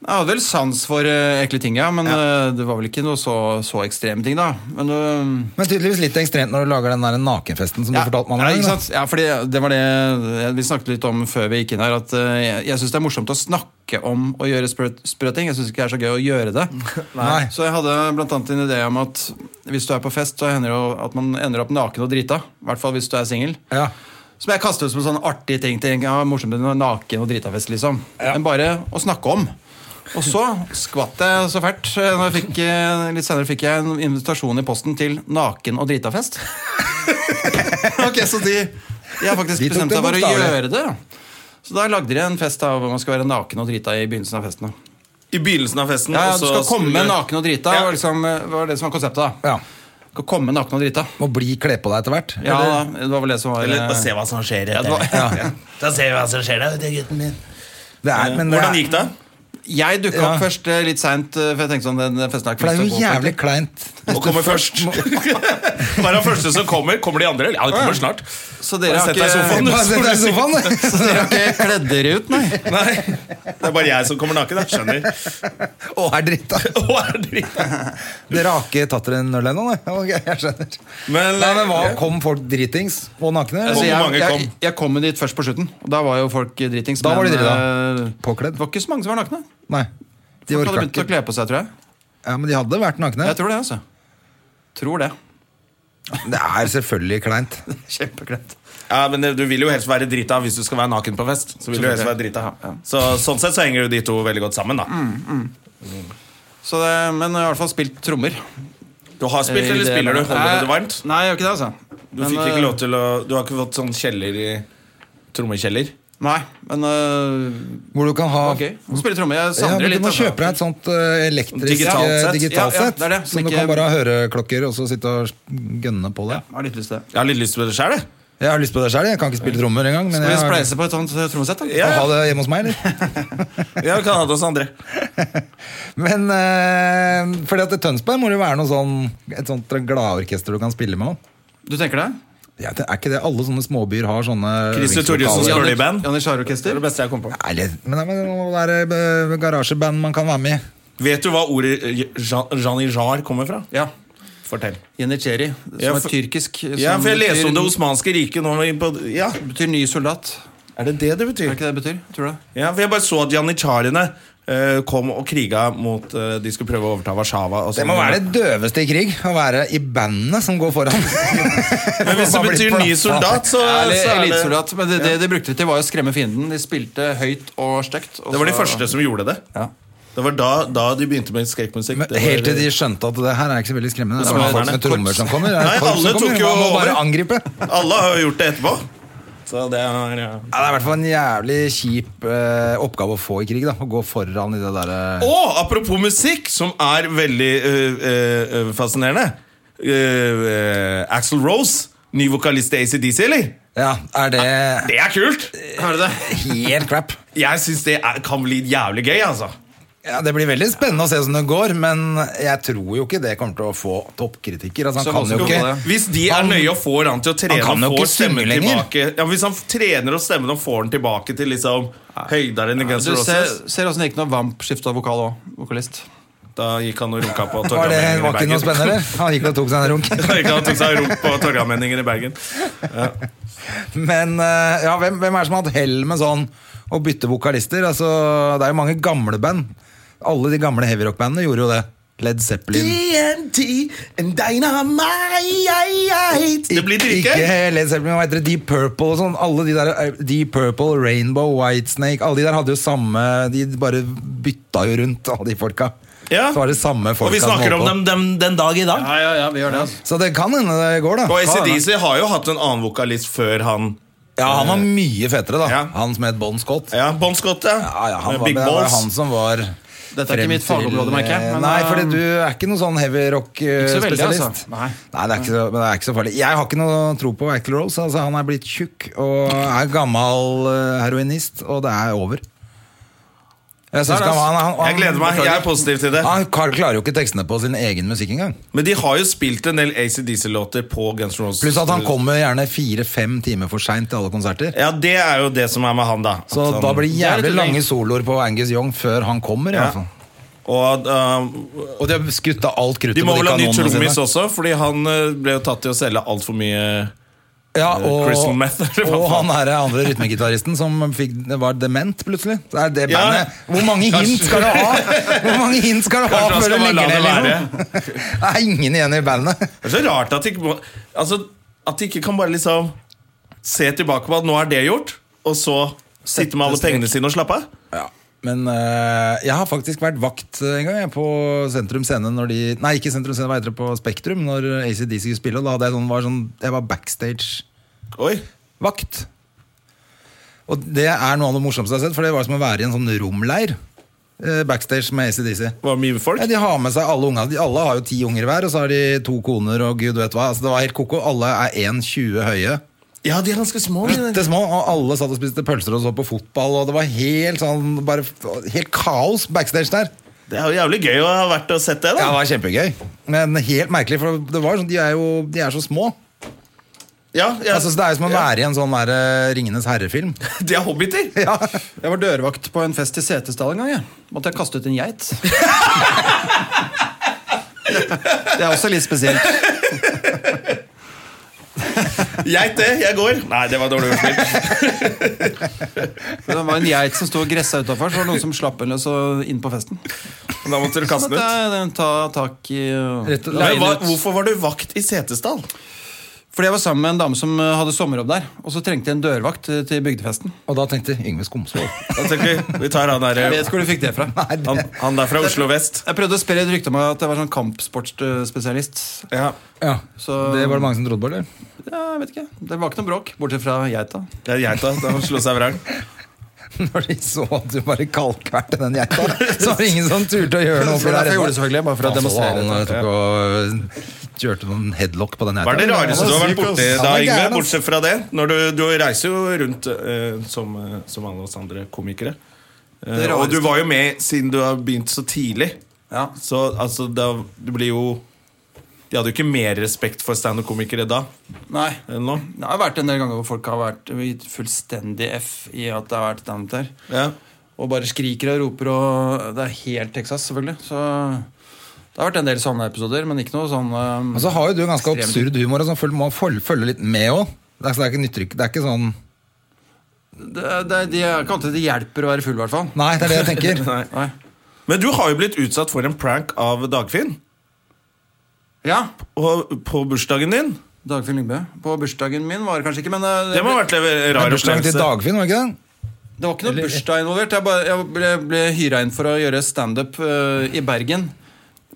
S4: Jeg hadde vel sans for eh, ekle ting, ja, men eh, det var vel ikke noe så, så ekstreme ting, da. Men, eh,
S2: Men tydeligvis litt ekstremt når du lager den der nakenfesten som
S4: ja,
S2: du fortalte meg om.
S4: ja,
S2: eller?
S4: ikke sant? ja, fordi det var det jeg- vi snakket litt om før vi gikk inn her, at eh, jeg, jeg syns det er morsomt å snakke om å gjøre sprø sprø ting. Jeg syns ikke det er så gøy å gjøre det.
S2: Nei.
S4: Så jeg hadde blant annet en idé om at hvis du er på fest, så hender det jo at man ender opp naken og drita. I hvert fall hvis du er singel.
S2: Ja.
S4: Som jeg kastet ut som en sånn artig ting. Til, ja, morsomt med noe naken og dritafest, liksom. Men bare å snakke om. Og så skvatt jeg så fælt. eh, Når jeg fikk, eh, litt senere fikk jeg en invitasjon i posten til naken- og dritafest. ok, Så de, de har faktisk
S2: De tok
S4: bestemt
S2: det
S4: seg for å
S2: bokstavelig.
S4: gjøre det. Så da lagde de en fest da, hvor man skal være naken og drita i begynnelsen av festen. da.
S1: I begynnelsen av festen.
S4: Ja, ja,
S1: og
S4: Du
S1: så
S4: skal komme
S1: skulle-
S4: naken og drita,
S1: Ja.
S4: var, liksom, eh, var det som var konseptet. da.
S2: Ja.
S4: Du skal komme naken og drita.
S2: Må bli kle på deg etter hvert.
S4: Ja,
S2: eller?
S4: da, det var vel det som var
S1: Eller
S4: eh,
S1: bare se hva som skjer.
S4: det var-
S1: etter. Da ser vi hva som skjer der, vet du, gutten min.
S2: Det er, men det
S1: Hvordan
S2: er-
S1: gikk det?
S4: Jeg dukka opp
S2: Ja.
S4: først eh, litt seint, for jeg tenkte sånn den festen her
S2: For det er
S4: kommer
S2: jo
S4: til å gå
S2: jævlig kleint.
S1: Å komme først. Være den første som kommer. Kommer de andre? Ja, de kommer snart.
S4: fort. Så dere
S1: Bare
S4: har
S1: sett deg i sofaen,
S4: ikke,
S1: du.
S2: Bare sett deg i sofaen.
S4: så dere har ikke kledd dere ut, nei?
S1: Nei, Det er bare jeg som kommer naken. Jeg skjønner.
S2: Å, er dritt, da.
S1: Å, er det dritt?
S2: Dere har ikke tatt dere en øl ennå? nei? Ok, jeg skjønner.
S1: Men, eh,
S2: Nei, men hva, Kom folk dritings og nakne?
S4: eh, Altså,
S1: Hvor
S2: Eller?
S1: mange
S4: jeg, jeg,
S1: kom?
S4: jeg kom jo dit først på slutten, og da var jo folk dritings.
S2: Da var de
S4: men,
S2: drita.
S4: eh,
S2: Påkledd?
S4: Det var ikke så mange som var nakne.
S2: Nei. De
S4: Folk
S2: orka
S4: hadde begynt å
S2: ikke.
S4: kle på seg, tror jeg.
S2: Ja, men de hadde vært nakne.
S4: Jeg tror det, altså. Tror det.
S2: Det er selvfølgelig kleint.
S4: Kjempekledd.
S1: Ja, men det- Du vil jo helst være drita hvis du skal være naken på fest. Så vil du helst være drita
S4: Ja, ja.
S1: Mm. Så Sånn sett så henger jo de to veldig godt sammen. da
S4: Så det, men jeg har i hvert fall spilt trommer. Eh,
S1: Du har spilt, eller spiller du? Holder du Eh, det varmt?
S4: Nei, jeg gjør ikke det, altså.
S1: Du fikk ikke lov til å Du har ikke fått sånn kjeller i Trommekjeller?
S4: Nei, men øh,
S2: Hvor du kan ha
S4: ok. Spille trommer.
S2: Ah.
S4: Jeg
S2: ja,
S4: savner
S2: men
S4: det
S2: Du
S4: litt.
S2: må
S4: altså.
S2: kjøpe deg et sånt eh, elektrisk
S1: Digitalt
S2: eh,
S1: sett.
S2: digitalt
S4: Ja, ja,
S2: sett.
S4: det er det, som
S2: så du
S4: ikke-
S2: kan bare ha høreklokker og så sitte og gønne på det.
S4: Jeg har litt lyst til det.
S1: Jeg har litt lyst til det sjøl, jeg.
S2: Jeg har lyst på det sjøl. Jeg kan ikke spille trommer engang. Men
S4: Skal vi
S2: jeg har,
S4: spleise på et sånt øh, trommesett? da?
S1: Ja.
S2: kan ha det hjemme hos meg, eller?
S1: Ja, vi kan ha det hos andre.
S2: Men eh, fordi at i Tønsberg må det jo være noe sånn, et sånt gladorkester du kan spille med. da.
S4: Du tenker det?
S2: Ja, det er ikke det alle sånne småbyer har sånne
S1: Christer Torjussen
S2: øvingslokaler?
S1: skal- Early band?
S4: Janne Orkester?
S1: beste jeg kom på.
S2: Nei, eller- men det må være eh, garasjeband man kan være med i.
S1: Vet du hva ordet eh, Jean- Janijar kommer fra?
S4: Ja.
S1: Fortell.
S4: Janitsjeri, som
S1: Ja, for-
S4: er tyrkisk. Som
S1: Ja, for jeg leste om Det sånn
S4: betyr,
S1: osmanske riket nå i- på- ja.
S4: betyr ny soldat.
S1: Er det det det
S4: Er
S1: betyr?
S4: det ikke det det betyr? Tror du det?
S1: Ja, for Jeg bare så at janitsjarene eh, kom og kriga mot eh, De skulle prøve å overta Warszawa. og
S2: Det
S1: sånn.
S2: må være det døveste i krig, å være i bandene som går foran.
S1: Men hvis det betyr ny soldat, så, så
S4: Ja, eller
S1: er det
S4: elitesoldat. Men det, det de brukte det til, var jo å skremme fienden. De spilte høyt og stygt. og
S1: Det var de
S4: så-
S1: første som gjorde det.
S4: Ja.
S1: Det var da, da de begynte med skrekkmusikk.
S2: Men
S1: Det var-
S2: helt til de skjønte at det her er ikke så veldig skremmende. Det er bare folk med trommer som kommer. Det er
S1: Nei,
S2: folk som
S1: alle
S2: kommer.
S1: tok jo
S2: Man må bare
S1: over.
S2: angripe.
S1: Alle har jo gjort det etterpå. Så det er ja.
S2: Ja, det er i hvert fall en jævlig kjip eh, oppgave å få i krig. da Å gå foran i det eh. derre
S1: Og apropos musikk, som er veldig øh, øh, øh, fascinerende øh, Axel Rose, ny vokalist i ACDC, eller?
S2: Ja, er det
S1: Det er kult!
S4: Er det det?
S2: helt crap?
S1: Jeg syns det er, kan bli jævlig gøy, altså.
S2: Ja, Det blir veldig spennende å se hvordan det går, men jeg tror jo ikke det kommer til å få toppkritikker. Altså,
S4: Så
S2: han kan jo
S4: vanskelig å
S2: ikke
S4: holde det.
S1: Hvis de er nøye og får han til å trene
S2: kan jo
S1: og
S2: ikke
S1: får stemmen
S2: synge lenger.
S1: tilbake ja, Hvis han trener og stemmen og får den tilbake til liksom høyder enn i Guns N'
S4: Du ser,
S1: Roses
S4: ser åssen det gikk når Vamp skifta vokal òg. Vokalist.
S1: Da gikk han og runka på
S2: Var det
S1: Torgallmenningen
S2: var ikke
S1: i Bergen.
S2: noe spennende? eller? Han gikk og tok seg en runk.
S1: Da gikk han og tok seg en runk på Torgallmenningen i Bergen.
S2: Men eh, ja, hvem, hvem er det som har hatt hell med sånn å bytte vokalister? Altså, det er jo mange gamle band. Alle de gamle heavyrock-bandene gjorde jo det. Led Zeppelin.
S1: TNT and dynamite Det blir
S2: Ikke
S1: drikke.
S2: Led Zeppelin, hva heter det? Deep Purple og sånn. Alle de der, eh, Deep Purple, Rainbow, Whitesnake Alle de der hadde jo samme De bare bytta jo rundt, alle de folka.
S1: Ja.
S2: Så var det samme
S1: Og
S2: folka
S1: vi
S2: som
S1: snakker
S2: holdt
S1: om
S2: på.
S1: dem, dem den dag i dag.
S4: Ja, ja, ja, vi gjør det. altså
S2: Så det kan hende det går, da.
S1: Og E ACDC har jo hatt en annen vokalist før han.
S2: Ja, han var mye fetere, da.
S1: Ja.
S2: Han som het Bon Scott.
S1: Ja, Bon Scott, ja.
S2: Ja, ja, han
S1: Med
S2: var,
S1: Big
S2: det var han
S1: Balls.
S2: som var
S4: Dette er ikke
S2: frem
S4: mitt
S2: til-
S4: fagområde, merker jeg, men,
S2: Nei,
S4: eh,
S2: fordi du er ikke noen sånn heavy
S4: så veldig,
S2: rock-spesialist.
S4: altså. Nei.
S2: Nei, det er, ikke så, men det er ikke så farlig. Jeg har ikke noe tro på Axl Rose. Altså, han er blitt tjukk og er gammel eh, heroinist, og det er over. Jeg, synes
S4: Nei,
S2: ikke han, han, han,
S1: Jeg gleder meg. Jeg er positiv til det.
S2: Han kar- klarer jo ikke tekstene på sin egen musikk engang.
S1: Men de har jo spilt en del ACDC-låter på Guns N' Roses.
S2: Pluss at han kommer gjerne fire-fem timer for seint til alle konserter.
S1: Ja, det er jo det som er med han, da. At
S2: Så
S1: han-
S2: da blir det
S4: Sånn. Det er litt
S2: jævlig
S4: lenge.
S2: lange soloer på Angus Young før han kommer. i
S1: Ja.
S2: hvert fall.
S1: Og um,
S2: Og de har skutt av alt kruttet
S1: de må
S2: på de
S1: vel ha ny
S2: kanonene sine.
S1: trommis også, fordi han eh, ble jo tatt til å selge altfor mye
S2: Ja,
S1: Eh, crystal meth, eller hva
S2: og
S1: faen.
S2: han her er andre rytmegitaristen som fikk, var dement plutselig. Det er det
S1: Ja.
S2: bandet. Hvor mange hint
S1: Kanskje.
S2: skal du ha Hvor mange hint skal du ha
S1: Kanskje han
S2: før
S1: skal
S2: du
S1: bare
S2: legger
S1: la
S2: ned?
S1: det
S2: Liksom? Det er ingen igjen i bandet.
S1: Det er så rart at de ikke, må- altså, at de ikke kan bare liksom se tilbake på at nå er det gjort, og så sitte med alle
S2: strek.
S1: pengene sine og slappe av.
S2: Men eh, jeg har faktisk vært vakt eh, en gang jeg, på Sentrum Scene når de Nei, ikke Sentrum Scene, hva heter det, på Spektrum, når ACDC skulle spille. Og da hadde jeg sånn, var sånn Jeg var backstage.
S1: Oi.
S2: vakt. Og det er noe av det morsomste jeg har sett, for det var som å være i en sånn romleir. eh, Backstage med ACDC.
S1: Det var mye folk.
S2: Ja, de har med seg alle unga. De, alle har jo ti unger hver, og så har de to koner og gud vet hva. Altså, det var helt koko. Alle er 1,20 høye.
S1: Ja, de er ganske små. de der.
S2: Bitte små, og alle satt og spiste pølser og så på fotball, og det var helt sånn bare, Helt kaos backstage der.
S1: Det er jo jævlig gøy å ha vært og sett det,
S2: Ja, det
S1: da.
S2: var kjempegøy. Men helt merkelig, for det var sånn, de er jo de er så små.
S1: Ja, ja.
S2: Altså, så det er jo som å være i en sånn der, eh, Ringenes herre-film.
S1: De er hobbiter.
S2: Ja.
S4: Jeg var dørvakt på en fest i Setesdal en gang. Jeg. Måtte jeg kaste ut en geit. Det er også litt spesielt.
S1: Geit det, jeg går. Nei, det var dårlig ordspill.
S4: Det var en geit som sto og gressa utafor, så var det noen som slapp henne løs og inn på festen.
S1: Da måtte du kaste
S4: Så
S1: den ut.
S4: måtte jeg ta tak i og
S2: Rett og-
S4: leie
S1: Men hva,
S4: den ut.
S1: hvorfor var du vakt i Setesdal?
S4: Fordi jeg var sammen med en dame som eh, hadde sommerjobb der. Og så trengte jeg en dørvakt eh, til bygdefesten.
S2: Og da tenkte Yngve Skomsvold
S1: Da tenker vi vi tar han
S4: Jeg
S1: der,
S4: vet hvor du fikk det fra.
S2: Nei, det-
S1: han, han der fra Oslo vest.
S4: Jeg prøvde å spre et rykte om at jeg var sånn kampsportspesialist.
S1: Ja.
S2: ja.
S4: Så-
S2: Det var det mange som trodde på, eller?
S4: Ja, jeg vet ikke. Det var ikke noe bråk, bortsett fra geita.
S1: Det er geita. Da han slo seg vrang.
S2: Når de så at du bare kalkverte den geita, så var det ingen som turte å gjøre noe.
S4: Det var derfor jeg gjorde det, selvfølgelig, bare for å
S2: Han så
S4: demonstrere
S2: Han eh, tok og eh, kjørte noen headlock på den geita.
S1: Hva er det rareste du har vært borti
S2: Han
S1: da,
S2: var
S1: Yngve?
S2: gæren, ass.
S1: Bortsett fra det. Når du, du reiser jo rundt eh, som, eh, som alle oss andre komikere. Eh,
S4: Det
S1: og du
S4: rareste.
S1: var jo med siden du har begynt så tidlig.
S4: Ja.
S1: Så altså, da, du blir jo De hadde jo ikke mer respekt for standup-komikere da
S4: Nei.
S1: enn nå.
S4: Det har vært en del ganger hvor folk har vært gitt fullstendig F i at det har vært standup der.
S1: Ja.
S4: Og bare skriker og roper, og det er helt Texas, selvfølgelig. Så det har vært en del sånne episoder, men ikke noe sånn eh,
S2: Og
S1: Altså-
S2: så har jo du ganske
S4: Ekstremt.
S2: absurd humor, og sånn, føl- må følge, følge litt med òg. Det, er- så det er ikke nyttrykk. Det er ikke sånn
S4: det, det, de, jeg kan ikke si det hjelper å være full, i hvert fall.
S2: Nei, det er det jeg tenker.
S4: Nei.
S1: Men du har jo blitt utsatt for en prank av Dagfinn
S4: Ja.
S1: på, på bursdagen din.
S4: Dagfinn Lyngbø. På bursdagen min var det kanskje ikke, men eh,
S1: Det må ha vært en rar
S2: Bursdagen til
S1: opplevelse.
S2: Dagfinn, var det ikke det?
S4: Det var ikke noe bursdag involvert. Jeg, bare, jeg ble, ble hyra inn for å gjøre standup uh, i Bergen.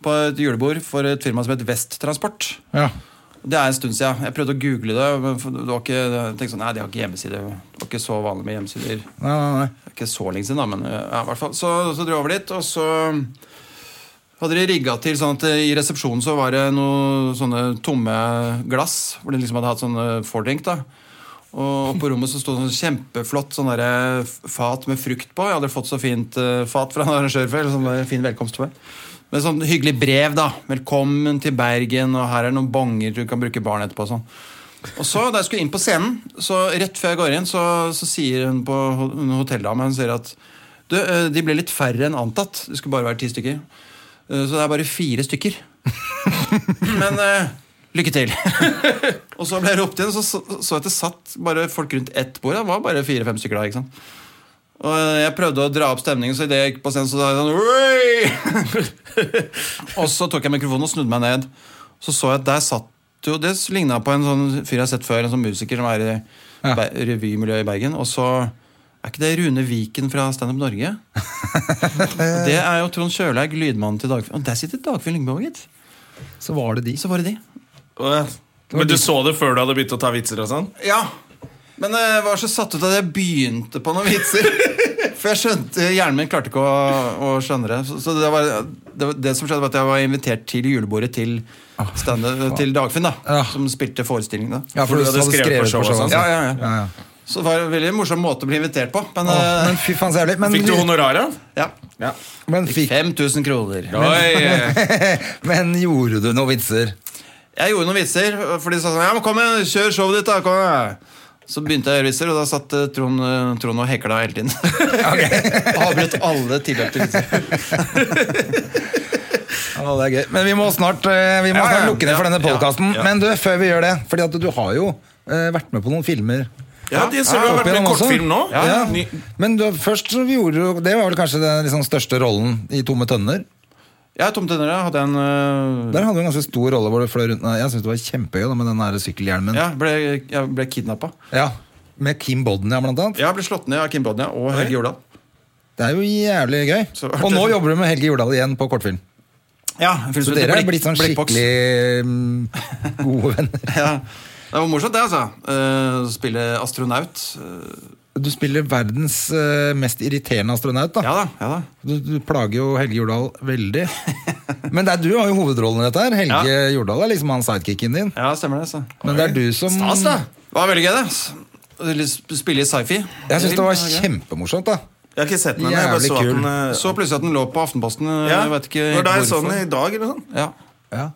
S4: På et julebord for et firma som het Vesttransport.
S2: Ja.
S4: Det er en stund siden. Jeg prøvde å google det. Men for- det var ikke, jeg tenkte sånn, nei, de har ikke hjemmeside. Det var ikke så vanlig med hjemmesider.
S2: Nei, nei, nei.
S4: Det er Ikke så lenge siden, da, men uh, ja, i hvert fall. Så, så dro jeg over dit, og så hadde de rigga til sånn at eh, i resepsjonen så var det noen sånne tomme glass, hvor de liksom hadde hatt sånne fordrink, da. Og oppe på rommet så sto det sånn kjempeflott sånn derre fat med frukt på. Jeg hadde fått så fint eh, fat fra en arrangør før. Sånn der fin velkomst for meg. Med sånn hyggelig brev, da. 'Velkommen til Bergen', og 'her er noen bonger du kan bruke barn etterpå'. og Sånn. Og så, da jeg skulle inn på scenen, så rett før jeg går inn, så, så sier hun på ho- en hotelldame hun sier at du, eh, de ble litt færre enn antatt. Det skulle bare være ti stykker. Eh, Så det er bare fire stykker. Men eh, lykke til. og så ble jeg ropt inn, og så så så jeg at det satt bare folk rundt ett bord. Det var bare fire-fem stykker da. ikke sant? Og eh, jeg prøvde å dra opp stemningen, så idet jeg gikk på scenen, så sa jeg sånn «Oi!» Og så tok jeg mikrofonen og snudde meg ned. Så så jeg at der satt jo Det ligna på en sånn fyr jeg har sett før, en sånn musiker som er i
S2: Ja.
S4: Be- revymiljøet i Bergen. Og så er ikke det Rune Viken fra Stand Up Norge? Og Det er jo Trond Kjølaug, lydmannen til Dagfinn. Og der sitter Dagfinn Lyngbø, gitt.
S2: Så var det de.
S4: Så var det de.
S1: Åh, Men du så det før du hadde begynt å ta vitser og sånn?
S4: Ja. Men eh, jeg var så satt ut at jeg begynte på noen vitser. For jeg skjønte, Hjernen min klarte ikke å, å skjønne det. Så, så det, var, det, var, det som skjedde, var at jeg var invitert til julebordet til, Ah, stand- til Dagfinn, da,
S2: Ja.
S4: som spilte forestillingen. da.
S2: Ja, for du hadde skrevet på showet.
S1: og sånn.
S2: altså.
S4: Ja, ja, ja.
S2: Ja, ja.
S4: Så det var en veldig morsom måte å bli invitert på. Men,
S2: Åh,
S4: eh,
S2: Men fy faen, så jævlig. Men,
S1: Fikk du honorar, da?
S4: ja.
S1: Ja.
S2: men, fikk,
S4: 5000 kroner.
S1: Oi.
S2: men gjorde du noen vitser?
S4: Jeg gjorde noen vitser, for de sa sånn Ja, men kom igjen, kjør showet ditt, da. Kom igjen. Så begynte jeg å gjøre vitser, og da satt eh, Trond, eh, Trond og hekla hele tiden. Avbrøt alle tilløp til vitser.
S2: Ja, det er gøy. Men vi må snart, eh, vi må
S4: Ja, ja,
S2: snart lukke ned
S4: ja,
S2: for denne
S4: ja,
S2: podkasten.
S1: ja.
S2: Men du, før vi gjør det, fordi at du har jo eh, vært med på noen filmer.
S1: Ja, de ser du
S2: opp
S1: har vært med i
S2: igjennom
S1: en
S2: også.
S1: kortfilm nå.
S2: Ja.
S1: Ny-
S2: Men du, først så gjorde du Det var vel kanskje den liksom største rollen i Tomme tønner.
S4: Ja, Tom Tønner ja, hadde en eh,
S2: Der hadde du en ganske stor rolle hvor du fløy rundt. Nei, Jeg syns det var kjempegøy da, med den der sykkelhjelmen.
S4: Ja, ble, jeg ble kidnappa.
S2: Ja, Med Kim Bodnia, blant annet.
S4: Jeg ble slått ned av Kim Bodnia og Helge Jordal.
S2: Det er jo jævlig gøy.
S4: Så-
S2: Og nå jobber du med Helge Jordal igjen på kortfilm.
S4: Ja, en film
S2: Så
S4: som heter
S2: dere er
S4: Blikk-
S2: blitt sånn
S4: Blikkboks.
S2: skikkelig mm, gode venner.
S4: ja. Det var morsomt, det, altså. Eh, å spille astronaut. Eh,
S2: Du spiller verdens eh, mest irriterende astronaut, da.
S4: ja da. ja da
S2: Du, du plager jo Helge Jordal veldig. Men det er, du har jo hovedrollen i dette her. Helge Jordal er liksom han sidekicken din.
S4: Ja, stemmer det. altså
S2: Men det er du som
S1: Stas, da.
S4: Det var veldig gøy, det. altså. Spille i sci-fi.
S2: Jeg syns det var
S4: Ja, gøy.
S2: kjempemorsomt, da.
S1: Jeg har ikke sett den. Jeg bare
S2: Jævlig
S1: så at
S2: kul.
S1: den eh,
S4: Så plutselig at den lå på Aftenposten. eh,
S1: ja.
S4: Jeg vet ikke
S1: Var det jeg så
S4: hvorfor.
S1: den i dag, eller sånn?
S4: Ja.
S2: Ja.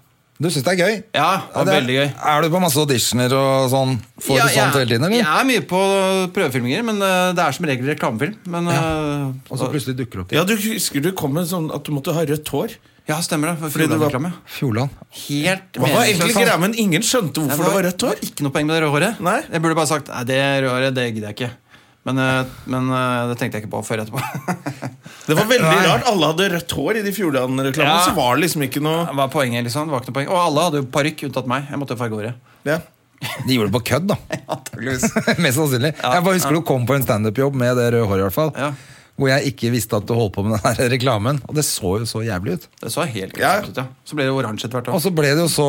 S2: Du syns det er gøy?
S4: ja, det var
S2: det er,
S4: veldig gøy.
S2: er du på masse auditioner og sånn? Får
S4: Ja,
S2: du sånt hele tiden,
S4: Jeg
S2: eller?
S4: er mye på prøvefilminger, men eh, det er som regel reklamefilm. Men, eh,
S2: Og så plutselig dukker det opp til
S1: Ja, du husker du kom med sånn at du måtte ha rødt hår.
S4: ja, stemmer det. for
S1: Fordi du var-
S4: Fjordane-reklame.
S2: Fjordland.
S4: Helt
S1: Hva var egentlig
S4: meningsløst.
S1: greia, men ingen skjønte hvorfor det var rødt hår?
S4: Ikke noe poeng med det røde håret.
S1: Nei.
S4: Jeg burde bare sagt nei, det røde håret det gidder jeg ikke. Men, eh, men eh, det tenkte jeg ikke på før etterpå.
S1: Det var veldig
S2: Nei.
S1: rart. Alle hadde rødt hår i de Fjordland-reklamene.
S4: Ja.
S1: Så var det liksom ikke noe
S4: Hva er poenget liksom? Det var ikke noe poeng. Og alle hadde jo parykk, unntatt meg. Jeg måtte jo farge håret.
S1: ja.
S2: De gjorde det på kødd, da.
S4: Antakeligvis.
S2: Mest sannsynlig. Jeg bare husker du kom på en standup-jobb med det røde håret, i hvert fall.
S4: Ja.
S2: Hvor jeg ikke visste at du holdt på med den her reklamen. Og det så jo så jævlig ut.
S4: Det så helt
S1: Ja.
S4: greit ut, ja. Så ble det oransje etter hvert.
S2: Og
S4: da.
S2: så ble det jo så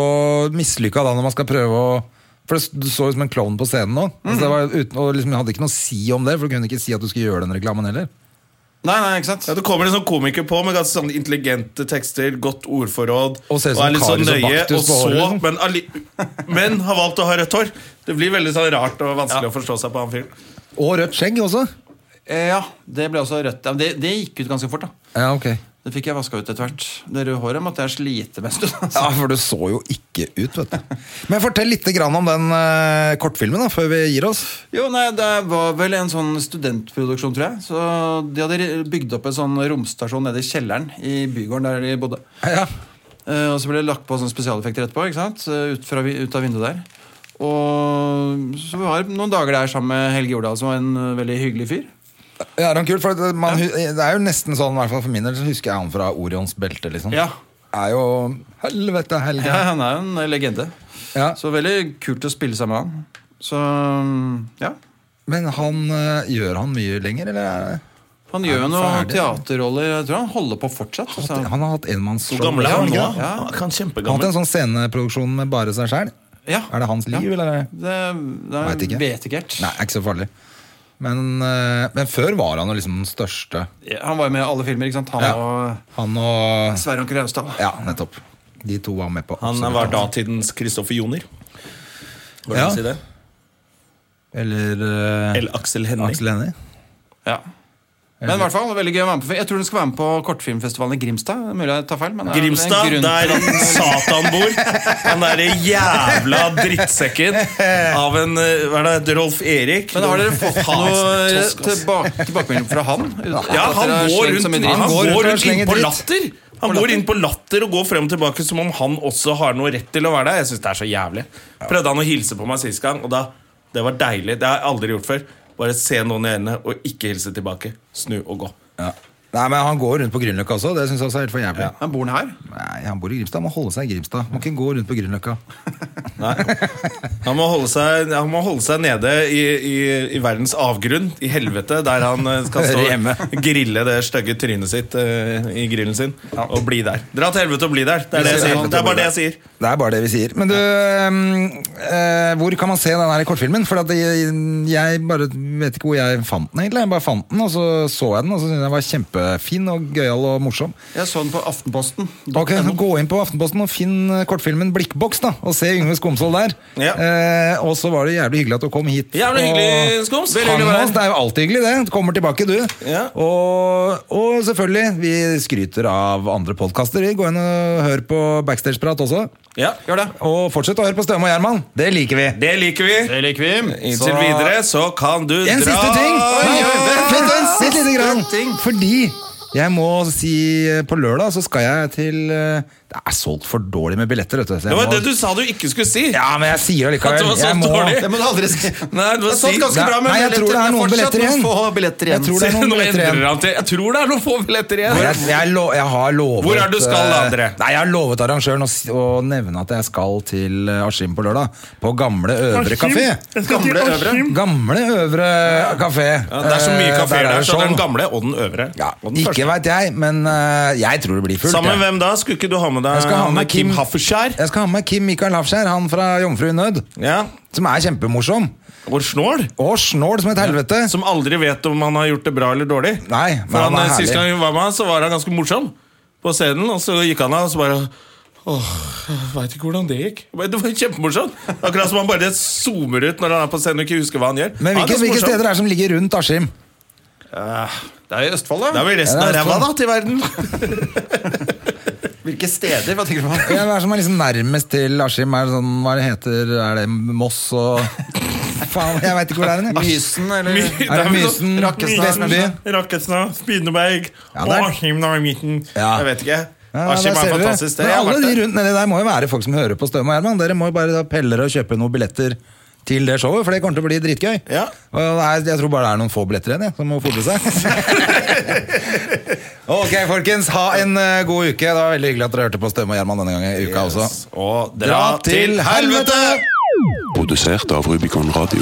S2: mislykka da, når man skal prøve å For det- du så ut som en klovn på scenen nå. Altså, det var uten, og liksom, jeg hadde ikke noe å si om det, for du kunne ikke si at du skulle gjøre den reklamen heller.
S4: Nei, nei, ikke sant?
S1: Ja, Det kommer en sånn komiker på med ganske sånn intelligente tekster, godt ordforråd.
S2: Og ser ut som
S1: er litt sånn
S2: Karius og
S1: nøye,
S2: Baktus
S1: og
S2: på
S1: så,
S2: håret, liksom.
S1: men, alli- men har valgt å ha rødt hår. Det blir veldig sånn rart og vanskelig å forstå seg på han fyren.
S2: Og rødt skjegg også.
S4: Eh, Ja, Det ble også rødt. Ja, men det, det gikk ut ganske fort. da
S2: Ja, ok.
S4: Det fikk jeg vaska ut etter hvert. Det røde håret måtte jeg slite med en stund. altså.
S2: Ja, for du så jo ikke ut, vet du. Men fortell litt grann om den eh, kortfilmen da, før vi gir oss.
S4: Jo, nei, Det var vel en sånn studentproduksjon, tror jeg. Så De hadde bygd opp en sånn romstasjon nede i kjelleren i bygården der de bodde.
S2: Ja,
S4: Eh, og så ble det lagt på sånne spesialeffekter etterpå. ikke sant? Eh, Ut, fra, vi- ut av vinduet der. Og så var det noen dager der sammen med Helge Jordal, som var en eh, veldig hyggelig fyr.
S2: ja det er kult, for det- man, hu- det er jo nesten sånn, i hvert fall for min del, så husker jeg han fra Orions belte, liksom.
S4: Ja,
S2: Er jo helvete helge.
S4: ja Han er jo en legende.
S2: Ja.
S4: Så veldig kult å spille sammen med han. Så mm, ja.
S2: Men han, eh, gjør han mye lenger, eller? er det-
S4: Han gjør jo
S2: han
S4: noen
S2: ferdig?
S4: teaterroller. Jeg tror han holder på fortsatt. altså.
S2: Han har hatt enmannsshow.
S1: Så gammel er han nå.
S2: ikke det?
S1: Ja, han er
S2: Han hadde
S1: Kjempegammel.
S2: en sånn sceneproduksjon med bare seg sjæl.
S4: Ja.
S2: Er det hans liv,
S4: Ja.
S2: eller?
S4: Det, det
S2: Vet ikke.
S4: vet ikke helt.
S2: Nei, er ikke så farlig. Men, eh, men før var han jo liksom den største.
S4: Han var jo med i alle filmer, ikke sant? Han
S2: Ja.
S4: og
S2: Han og
S4: Sverre Anker Austdal.
S2: Ja, nettopp. De to var med på
S1: Han
S2: absolutt
S1: var
S2: alt.
S1: datidens Kristoffer Joner. Går det
S2: Ja.
S1: an å si det?
S2: Eller eh,
S1: Eller Aksel Hennie.
S2: Aksel Hennie.
S4: Ja. Men i hvert fall, veldig gøy å være med på. Jeg tror den skal være med på kortfilmfestivalen i Grimstad. Mulig jeg tar feil, men det er en
S1: Grimstad,
S4: grunn
S1: der
S4: til at den-
S1: Satan bor. Han derre jævla drittsekken av en eh, Hva er det, Rolf Erik.
S4: Men har dere fått
S1: Faen,
S4: noe eh,
S1: tosk, ass.
S4: tilbake, tilbakemelding fra han?
S1: Ja,
S4: At
S1: han
S4: dere har
S1: går
S4: slengt så mye
S1: rundt,
S4: dritt?
S1: han går
S2: og
S1: rundt
S2: slenger
S1: inn på
S2: dritt.
S1: latter. Han går inn på latter og går frem og tilbake som om han også har noe rett til å være der. Jeg synes det er så jævlig Prøvde han å hilse på meg sist gang, og da Det var deilig. Det har jeg aldri gjort før. Bare se noen i øynene og ikke hilse tilbake. Snu og gå.
S2: Ja. Nei, men Han går rundt på Grünerløkka også. Det syns jeg også er helt for jævlig.
S4: Han bor her?
S2: Nei, Han bor i Grimstad. Han må holde seg i Grimstad. Må ikke gå rundt på Grünerløkka.
S1: Nei. Han må holde seg, han må holde seg nede i, i, i verdens avgrunn, i helvete, der han eh, skal
S2: Hører
S1: stå
S2: hjemme.
S1: grille det stygge trynet sitt eh, i grillen sin. Og bli der. Dra til helvete og bli der. Det er, det jeg sier. Det er bare det jeg sier.
S2: Det er bare det vi sier. Men du, ehm, eh, hvor kan man se den her kortfilmen? For at jeg, jeg bare vet ikke hvor jeg fant den, egentlig. Jeg bare fant den, og så så jeg den, og så syntes jeg den var kjempefin og gøyal og morsom.
S4: Jeg så den på Aftenposten.
S2: Ok, så Gå inn på Aftenposten og finn eh, kortfilmen 'Blikkboks', da, og se Yngve Skomsvold der.
S1: Ja.
S2: Eh, og så var det jævlig hyggelig at du kom hit.
S1: Jævlig hyggelig,
S2: og
S1: Skoms.
S2: hang
S1: Veldig hyggelig å være
S2: med oss.
S1: her.
S2: Det er jo alltid hyggelig, det. Du kommer tilbake, du.
S1: Ja.
S2: Og, og selvfølgelig, vi skryter av andre podkaster. Gå inn og hør på backstageprat også.
S1: Ja, gjør det.
S2: Og fortsett å høre på Støme og Gjerman. Det liker vi.
S1: Det liker vi.
S4: Det liker vi.
S1: Inntil
S2: Så-
S1: videre så kan du
S2: En
S1: dra
S2: siste ting!
S1: Oi, oi, oi.
S2: Vent, vent, sitt lite
S4: En ting.
S2: grann. Fordi jeg må si eh, på lørdag så skal jeg til eh, Det er solgt for dårlig med billetter, vet du. så jeg
S1: Det var
S2: må-
S1: det du sa du ikke skulle si.
S2: Ja, men jeg sier det
S1: At det
S2: likevel.
S1: var solgt
S2: Jeg må-
S1: dårlig.
S4: Det må du aldri
S1: Nei,
S4: si.
S1: det var
S4: Det er sånn
S1: si-
S4: ganske bra med
S2: Nei, jeg tror det er noen billetter igjen.
S4: Få billetter
S2: Jeg
S4: igjen.
S2: tror det er
S1: Se,
S2: noen
S1: nå
S2: billetter
S1: endrer
S2: igjen.
S1: han til Jeg tror det er noen få billetter
S2: Jeg,
S1: igjen.
S2: jeg, lo, jeg har lovet
S1: Hvor er det du skal, da, André?
S2: eh, Nei, Jeg har lovet arrangøren å, si- å nevne at jeg skal til eh, Askim på lørdag. På Gamle Øvre kafé.
S4: Gamle øvre.
S2: Gamle Øvre kafé.
S1: Ja, det er så mye
S2: sånn. Eh,
S1: kafeer der, så
S2: show.
S1: den gamle og den øvre.
S2: Ja,
S1: og den
S2: ikke veit jeg, men eh, jeg tror det blir fullt.
S1: Sammen
S2: jeg.
S1: med hvem da? Skulle ikke du ha med deg
S2: Jeg skal ha
S1: han
S2: med Kim-
S1: Hafferskjær?
S2: Jeg skal ha med Kim Mikael Hafskjær, han fra Jomfru i nød.
S1: Ja.
S2: Som er kjempemorsom.
S1: Og Snål,
S2: Og snål som et helvete.
S1: som aldri vet om han har gjort det bra eller dårlig.
S2: Nei, men
S1: For
S2: han
S1: han,
S2: er
S1: eh, Sist
S2: herlig.
S1: gang vi var med, han, så var han ganske morsom på scenen, og så gikk han av, og så bare Åh, jeg veit ikke hvordan det gikk. Jeg bare, Det var kjempemorsomt! Akkurat som han bare zoomer ut når han er på scenen og ikke husker hva han gjør.
S2: Men
S1: Han er
S2: hvilke,
S1: ganske
S2: hvilke
S1: morsom.
S2: steder er det som ligger rundt Askim?
S4: Det er i Østfold,
S1: Det
S4: da.
S1: er vel resten
S2: Ja,
S1: av
S2: det er
S1: ræva, da,
S2: sant.
S1: til verden.
S4: Hvilke steder? Hva tenker du på?
S2: Ja, Hva er det som er liksom nærmest til Askim? Er det sånn, hva er det heter Er det Moss og Faen, jeg veit ikke hvor det er. hen, jeg.
S4: Mysen, eller?
S2: Er det Mysen,
S4: Rakkestad,
S2: Vestby?
S4: kanskje?
S1: Rakkestad, Spydeberg
S2: Ja,
S1: og
S2: der.
S1: Askim da i midten.
S2: Ja.
S1: Jeg vet ikke.
S2: Ja,
S1: Askim
S2: der
S1: er
S2: ser dere.
S1: fantastisk. Det
S2: Men
S1: jeg har
S2: alle
S1: vært
S2: de
S1: der.
S2: rundt nedi der må jo være folk som hører på Støm og Gjerman. Dere må jo bare da pelle dere og kjøpe noen billetter til det showet, for det kommer til å bli dritgøy.
S1: Ja.
S2: Og det er, jeg tror bare det er noen få billetter igjen, jeg, som må fodre seg. ok, folkens. Ha en eh, god uke. Det var veldig hyggelig at dere hørte på Støm og Gjerman denne gangen i uka også.
S1: Og dra til helvete!
S5: På Produsert av Rubicon Radio.